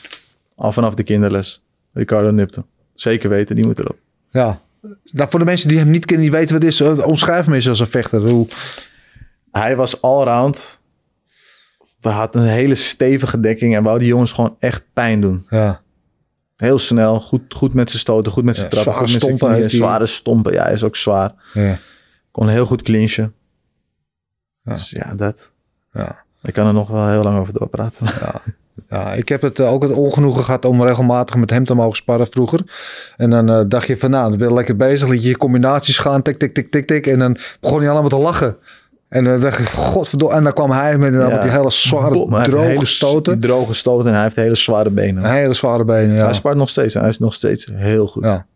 Al vanaf de kinderles. Ricardo Nipte. Zeker weten, die moet erop.
ja... Nou, voor de mensen die hem niet kennen, die weten wat het is. eh, Omschrijf hem eens als een vechter. Hoe,
Hij was allround. We hadden een hele stevige dekking en wou die jongens gewoon echt pijn doen.
ja,
Heel snel, goed, goed met zijn stoten, goed met zijn
Ja,
trappen,
zware
goed met zijn
stompen
knieën,
heeft hij.
zware stompen. Ja, hij is ook zwaar.
ja,
Kon heel goed clinchen.
Ja.
Dus ja, dat.
ja.
Ik kan er nog wel heel lang over doorpraten.
Ja, ik heb het, eh, ook het ongenoegen gehad om regelmatig met hem te mogen sparren vroeger. En dan eh, dacht je van nou, dan ben je lekker bezig. Liet je je combinaties gaan, tik, tik, tik, tik, tik. En dan begon hij allemaal te lachen. En dan dacht ik, godverdomme. En dan kwam hij met, eh,
Ja.
met die hele zware,
Bom, hij heeft
droge
hele s-
stoten.
Droge stoten en hij heeft hele zware benen.
Hele zware benen, ja.
Hij spart nog steeds en hij is nog steeds heel goed.
Ja.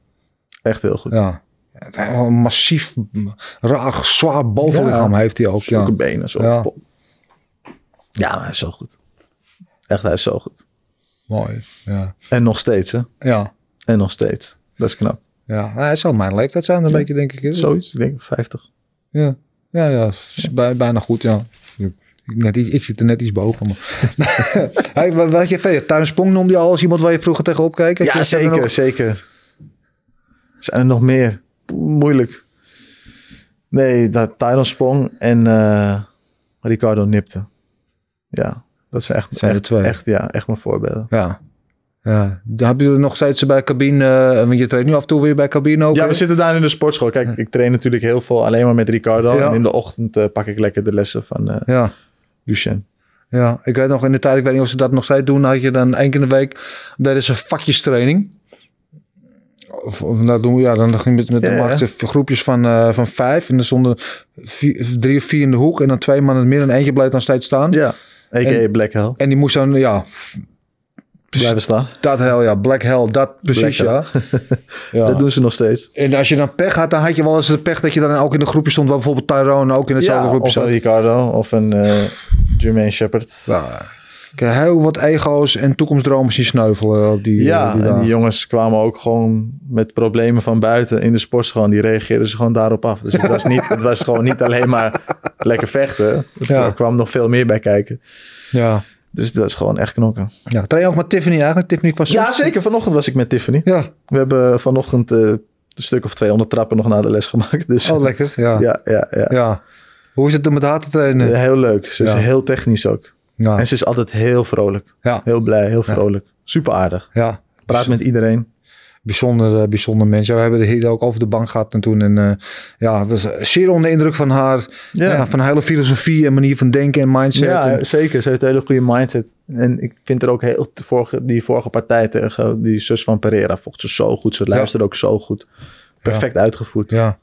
Echt heel goed.
ja. Het is wel Een massief, m- raar, zwaar bovenlichaam
Ja.
heeft hij ook. Ja.
Zulke benen. Zo.
Ja.
Ja. ja, maar hij is zo goed. Echt, hij is zo goed.
Mooi, ja.
En nog steeds, hè?
Ja.
En nog steeds. Dat is knap.
ja. Hij zal mijn leeftijd zijn, een beetje, denk ik.
Zoiets, ik denk 50.
Ja, ja, ja. is bij- bijna goed, ja. Ik, net iets, ik zit er net iets boven. Maar. hey, wa- wat je verder? Tuin Sprong noemde je al als iemand waar je vroeger tegenop keek? Heb je-
Ja,
zijn er
zeker,
nog-
zeker. Zijn er nog meer? Oeh, Moeilijk. Nee, dat Tyron sprong en eh, Ricardo nipte. Ja, dat zijn echt,
Zijn er
echt,
twee.
echt, ja, echt mijn voorbeelden.
Ja. ja. Dan heb je er nog steeds bij cabine. eh, want je treedt nu af en toe weer bij cabine ook.
Ja,
hè?
we zitten daar in de sportschool. Kijk, ik train natuurlijk heel veel alleen maar met Ricardo.
Ja.
En in de ochtend eh, pak ik lekker de lessen van eh
ja.
Lucien.
Ja, ik weet nog in de tijd, ik weet niet of ze dat nog steeds doen, had je dan één keer in de week, dat is een vakjestraining. Of, of nou doen we, ja, dan ging je met, met
Ja, ja.
maakte groepjes van, eh, van vijf en er stonden vier- drie of vier in de hoek en dan twee man in het midden en eentje bleef dan steeds staan.
Ja, a.k.a.
En-
Black Hell.
En die moest dan, ja,
Blijven staan.
dat hel, ja, black hell, dat precies, ja.
Black
ja.
Dat doen ze nog steeds.
En als je dan pech had, dan had je wel eens de pech dat je dan ook in een groepje stond, waar bijvoorbeeld Tyrone ook in hetzelfde
Ja,
groepje
of een
zat.
Ricardo of een eh Jermaine Shepard. Ja,
Ja, ik heb heel wat ego's en toekomstdromen zien sneuvelen op die eh, die
en
dagen.
die jongens kwamen ook gewoon met problemen van buiten in de sportschool. En die reageerden ze gewoon daarop af. Dus het was, niet, het was gewoon niet alleen maar lekker vechten. Het-
Ja.
Er kwam nog veel meer bij kijken.
Ja.
Dus dat is gewoon echt knokken.
Ja, train je ook met Tiffany eigenlijk? Tiffany van
Ja,
Soest?
zeker. Vanochtend was ik met Tiffany.
Ja,
We hebben vanochtend eh, een stuk of 200 trappen nog na de les gemaakt. Dus
oh lekker. Ja. ja.
ja, ja, ja. Eh,
Hoe is het om met haar te trainen? Ja.
Heel leuk. Ze is
Ja.
heel technisch ook.
Ja.
En ze is altijd heel vrolijk.
Ja.
Heel blij, heel vrolijk. Super aardig.
ja.
Praat met iedereen.
bijzonder, eh, bijzonder mens. Ja, we hebben het hier ook over de bank gehad en toen. En eh, ja, was eh, zeer onder de indruk van haar,
Ja.
ja, van haar hele filosofie en manier van denken en mindset.
Ja, eh,
En-
zeker. Ze heeft een hele goede mindset. En ik vind er ook heel... de vorige- die vorige partij tegen die zus van Pereira vocht ze zo goed. Ze luisterde ook zo goed. Perfect uitgevoerd.
ja.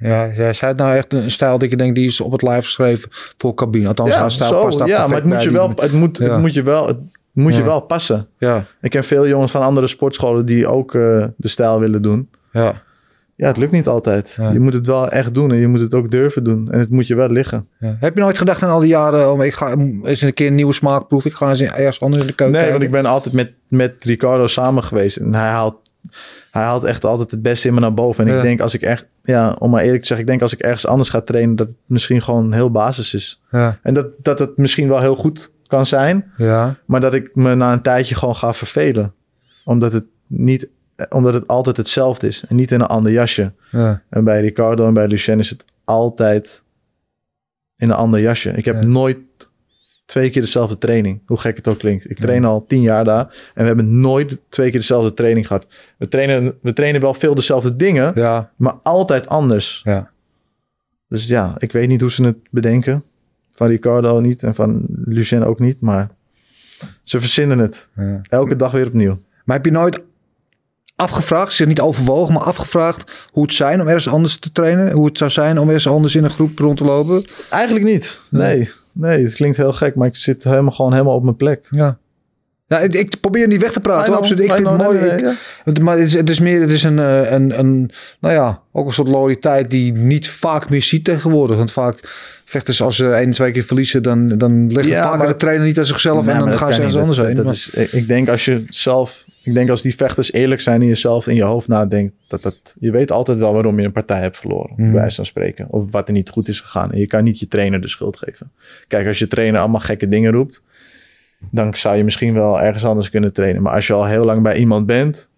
Ja, ja, zij had nou echt een stijl dat je denkt, die is op het live geschreven voor cabine. Althans, haar stijl
zo,
past daar
ja maar het
perfect
moet, je
bij,
wel,
die-
het, moet,
Ja.
het moet je wel... Het moet je
Ja.
wel passen.
Ja,
Ik ken veel jongens van andere sportscholen die ook eh, de stijl willen doen.
ja,
Ja, het lukt niet altijd.
Ja.
Je moet het wel echt doen en je moet het ook durven doen. En het moet je wel liggen.
ja. Heb je nooit gedacht aan al die jaren, oh, ik ga eens een keer een nieuwe smaakproef, ik ga eens ergens anders in de keuken
Nee, want ik
kijken?
ben altijd met, met Ricardo samen geweest. En hij haalt, hij haalt echt altijd het beste in me naar boven. En
Ja.
ik denk als ik echt, ja, om maar eerlijk te zeggen, ik denk als ik ergens anders ga trainen, dat het misschien gewoon heel basis is.
Ja,
En dat, dat het misschien wel heel goed kan zijn,
ja.
maar dat ik me na een tijdje gewoon ga vervelen. Omdat het, niet, eh, omdat het altijd hetzelfde is en niet in een ander jasje.
Ja,
En bij Ricardo en bij Lucien is het altijd in een ander jasje. Ik heb
Ja.
nooit twee keer dezelfde training. Hoe gek het ook klinkt. Ik train al tien jaar daar. En we hebben nooit twee keer dezelfde training gehad. We trainen, we trainen wel veel dezelfde dingen,
ja,
maar altijd anders.
ja.
Dus ja, ik weet niet hoe ze het bedenken. Van Ricardo niet en van Lucien ook niet. Maar ze verzinnen het.
ja.
Elke dag weer opnieuw.
Maar heb je nooit afgevraagd, zich niet overwogen, maar afgevraagd hoe het zijn om ergens anders te trainen? Hoe het zou zijn om ergens anders in een groep rond te lopen?
Eigenlijk niet. Nee, nee het klinkt heel gek, maar ik zit helemaal, gewoon helemaal op mijn plek.
Ja. Ja, ik, ik probeer niet weg te praten.
I know,
hoor, absoluut. Ik
I
vind het
know,
mooi.
nee, nee,
ik-
ja.
het- Maar het is, het is meer, het is een, eh, een, een, nou ja, ook een soort loyaliteit die je niet vaak meer ziet tegenwoordig. Want vaak vechters, als ze één, twee keer verliezen, dan, dan ligt
Ja,
het vaak
maar-
aan de trainer niet aan zichzelf
Nee,
en dan
maar
gaan
dat
ze
kan
ergens
niet.
anders
Dat-
heen.
dat
Maar-
is- ik- ik denk als je zelf, ik denk als die vechters eerlijk zijn in jezelf, in je hoofd nadenkt, dat dat, je weet altijd wel waarom je een partij hebt verloren, bij wijze van spreken, of wat er niet goed is gegaan. En je kan niet je trainer de schuld geven. Kijk, als je trainer allemaal gekke dingen roept, dan zou je misschien wel ergens anders kunnen trainen. Maar als je al heel lang bij iemand bent,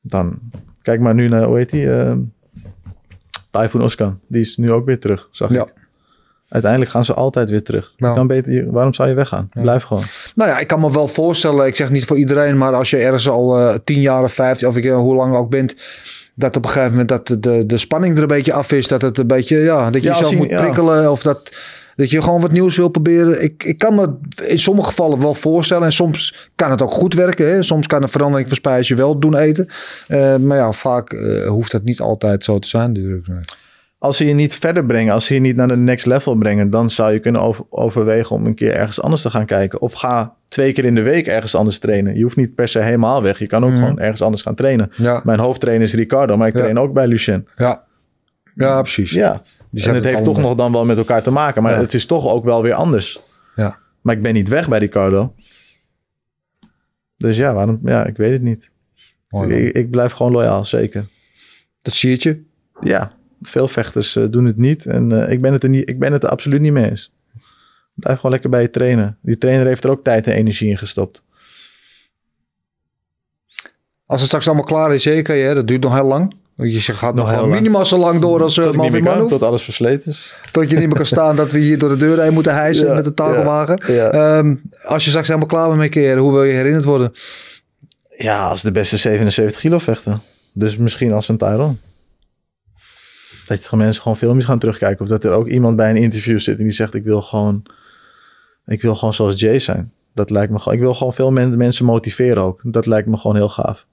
dan kijk maar nu naar hoe heet die? ehm Typhoon Oskan. Die is nu ook weer terug, zag
Ja.
ik. Uiteindelijk gaan ze altijd weer terug. Je
Nou.
Kan beter, je- waarom zou je weggaan? Blijf gewoon.
Nou ja, ik kan me wel voorstellen, ik zeg niet voor iedereen, maar als je ergens al eh, 10 jaar of 15, of ik, eh, hoe lang ook bent, dat op een gegeven moment dat de, de spanning er een beetje af is, dat het een beetje, ja, dat je
Ja, als
jezelf
je-
moet
ja.
prikkelen of dat, dat je gewoon wat nieuws wil proberen. Ik, ik kan me in sommige gevallen wel voorstellen en soms kan het ook goed werken. Hè? Soms kan een verandering van spijs je wel doen eten. Eh, maar ja, vaak eh, hoeft dat niet altijd zo te zijn natuurlijk. Nee.
als ze je niet verder brengen, als ze je niet naar de next level brengen, dan zou je kunnen over- overwegen om een keer ergens anders te gaan kijken. Of ga twee keer in de week ergens anders trainen. Je hoeft niet per se helemaal weg. Je kan ook gewoon ergens anders gaan trainen.
Ja.
Mijn hoofdtrainer is Ricardo, maar ik
Mhm. Ja.
train ook bij Lucien.
Ja. ja, precies.
Ja.
Dus je
en
hebt
het
het
heeft toch
allemaal.
nog dan wel met elkaar te maken, maar
Ja.
het is toch ook wel weer anders.
Ja.
Maar ik ben niet weg bij Ricardo. Dus ja, waarom? Ja, ik weet het niet.
Mooi, man.
ik, ik blijf gewoon loyaal, zeker.
dat zie je. het je.
ja, veel vechters eh, doen het niet. En eh, ik, ben het er niet, ik ben het er absoluut niet mee eens. Blijf gewoon lekker bij je trainer. Die trainer heeft er ook tijd en energie in gestopt.
Als het straks allemaal klaar is, zeker, hè, dat duurt nog heel lang. Want Je gaat nog,
heel
gewoon
lang.
minimaal zo lang door als
Tot,
uh,
ik niet
Malvin
meer kan,
Manhoef.
tot alles versleten is.
Tot je niet meer kan staan dat we hier door de deur heen moeten hijsen
Ja,
met de takelwagen.
ja,
Ehm, als je straks helemaal klaar bent met je keren, hoe wil je herinnerd worden?
Ja, als de beste 77 kilo vechten. Dus misschien als een Tyron. Dat je gewoon mensen gewoon filmpjes gaan terugkijken. Of dat er ook iemand bij een interview zit en die zegt... ik wil gewoon, ik wil gewoon zoals Jay zijn. Dat lijkt me gewoon... Ik wil gewoon veel men- mensen motiveren ook. Dat lijkt me gewoon heel gaaf.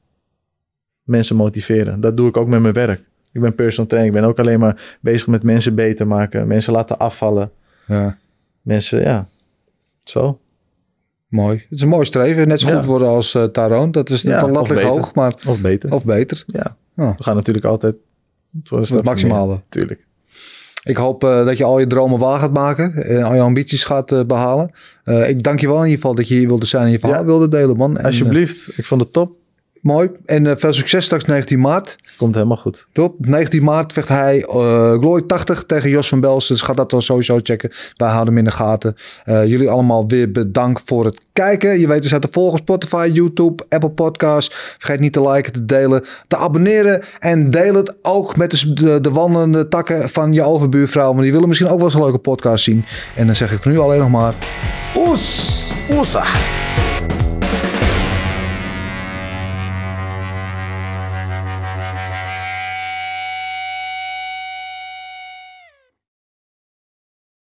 Mensen motiveren. Dat doe ik ook met mijn werk. Ik ben personal trainer. Ik ben ook alleen maar bezig met mensen beter maken. Mensen laten afvallen.
Ja,
Mensen, ja. Zo.
mooi. Het is een mooi streven. Net zo
Ja.
goed worden als eh Taroon. Dat is
Ja,
van
of
lat ligt
beter.
hoog, maar
Of beter. Oh.
of beter.
ja.
Ja.
We gaan natuurlijk altijd... Voor een stapje
maximale.
meer. Tuurlijk.
Ik hoop eh, dat je al je dromen waar gaat maken. En al je ambities gaat eh, behalen. Eh, ik dank je wel in ieder geval dat je hier wilde zijn en je verhaal
Ja.
wilde delen, man. En,
Alsjeblieft. Ik vond het top.
eh, mooi. En eh, veel succes straks 19 maart.
Komt helemaal goed.
Top. 19 maart vecht hij eh Glory 80 tegen Jos van Belsen. Dus ga dat dan sowieso checken. Wij houden hem in de gaten. Eh, jullie allemaal weer bedankt voor het kijken. Je weet, we zijn te volgen op Spotify, YouTube, Apple Podcasts. Vergeet niet te liken, te delen, te abonneren. En deel het ook met de, de, de wandelende takken van je overbuurvrouw. Want die willen misschien ook wel eens een leuke podcast zien. En dan zeg ik voor nu alleen nog maar... Oes! Oesa!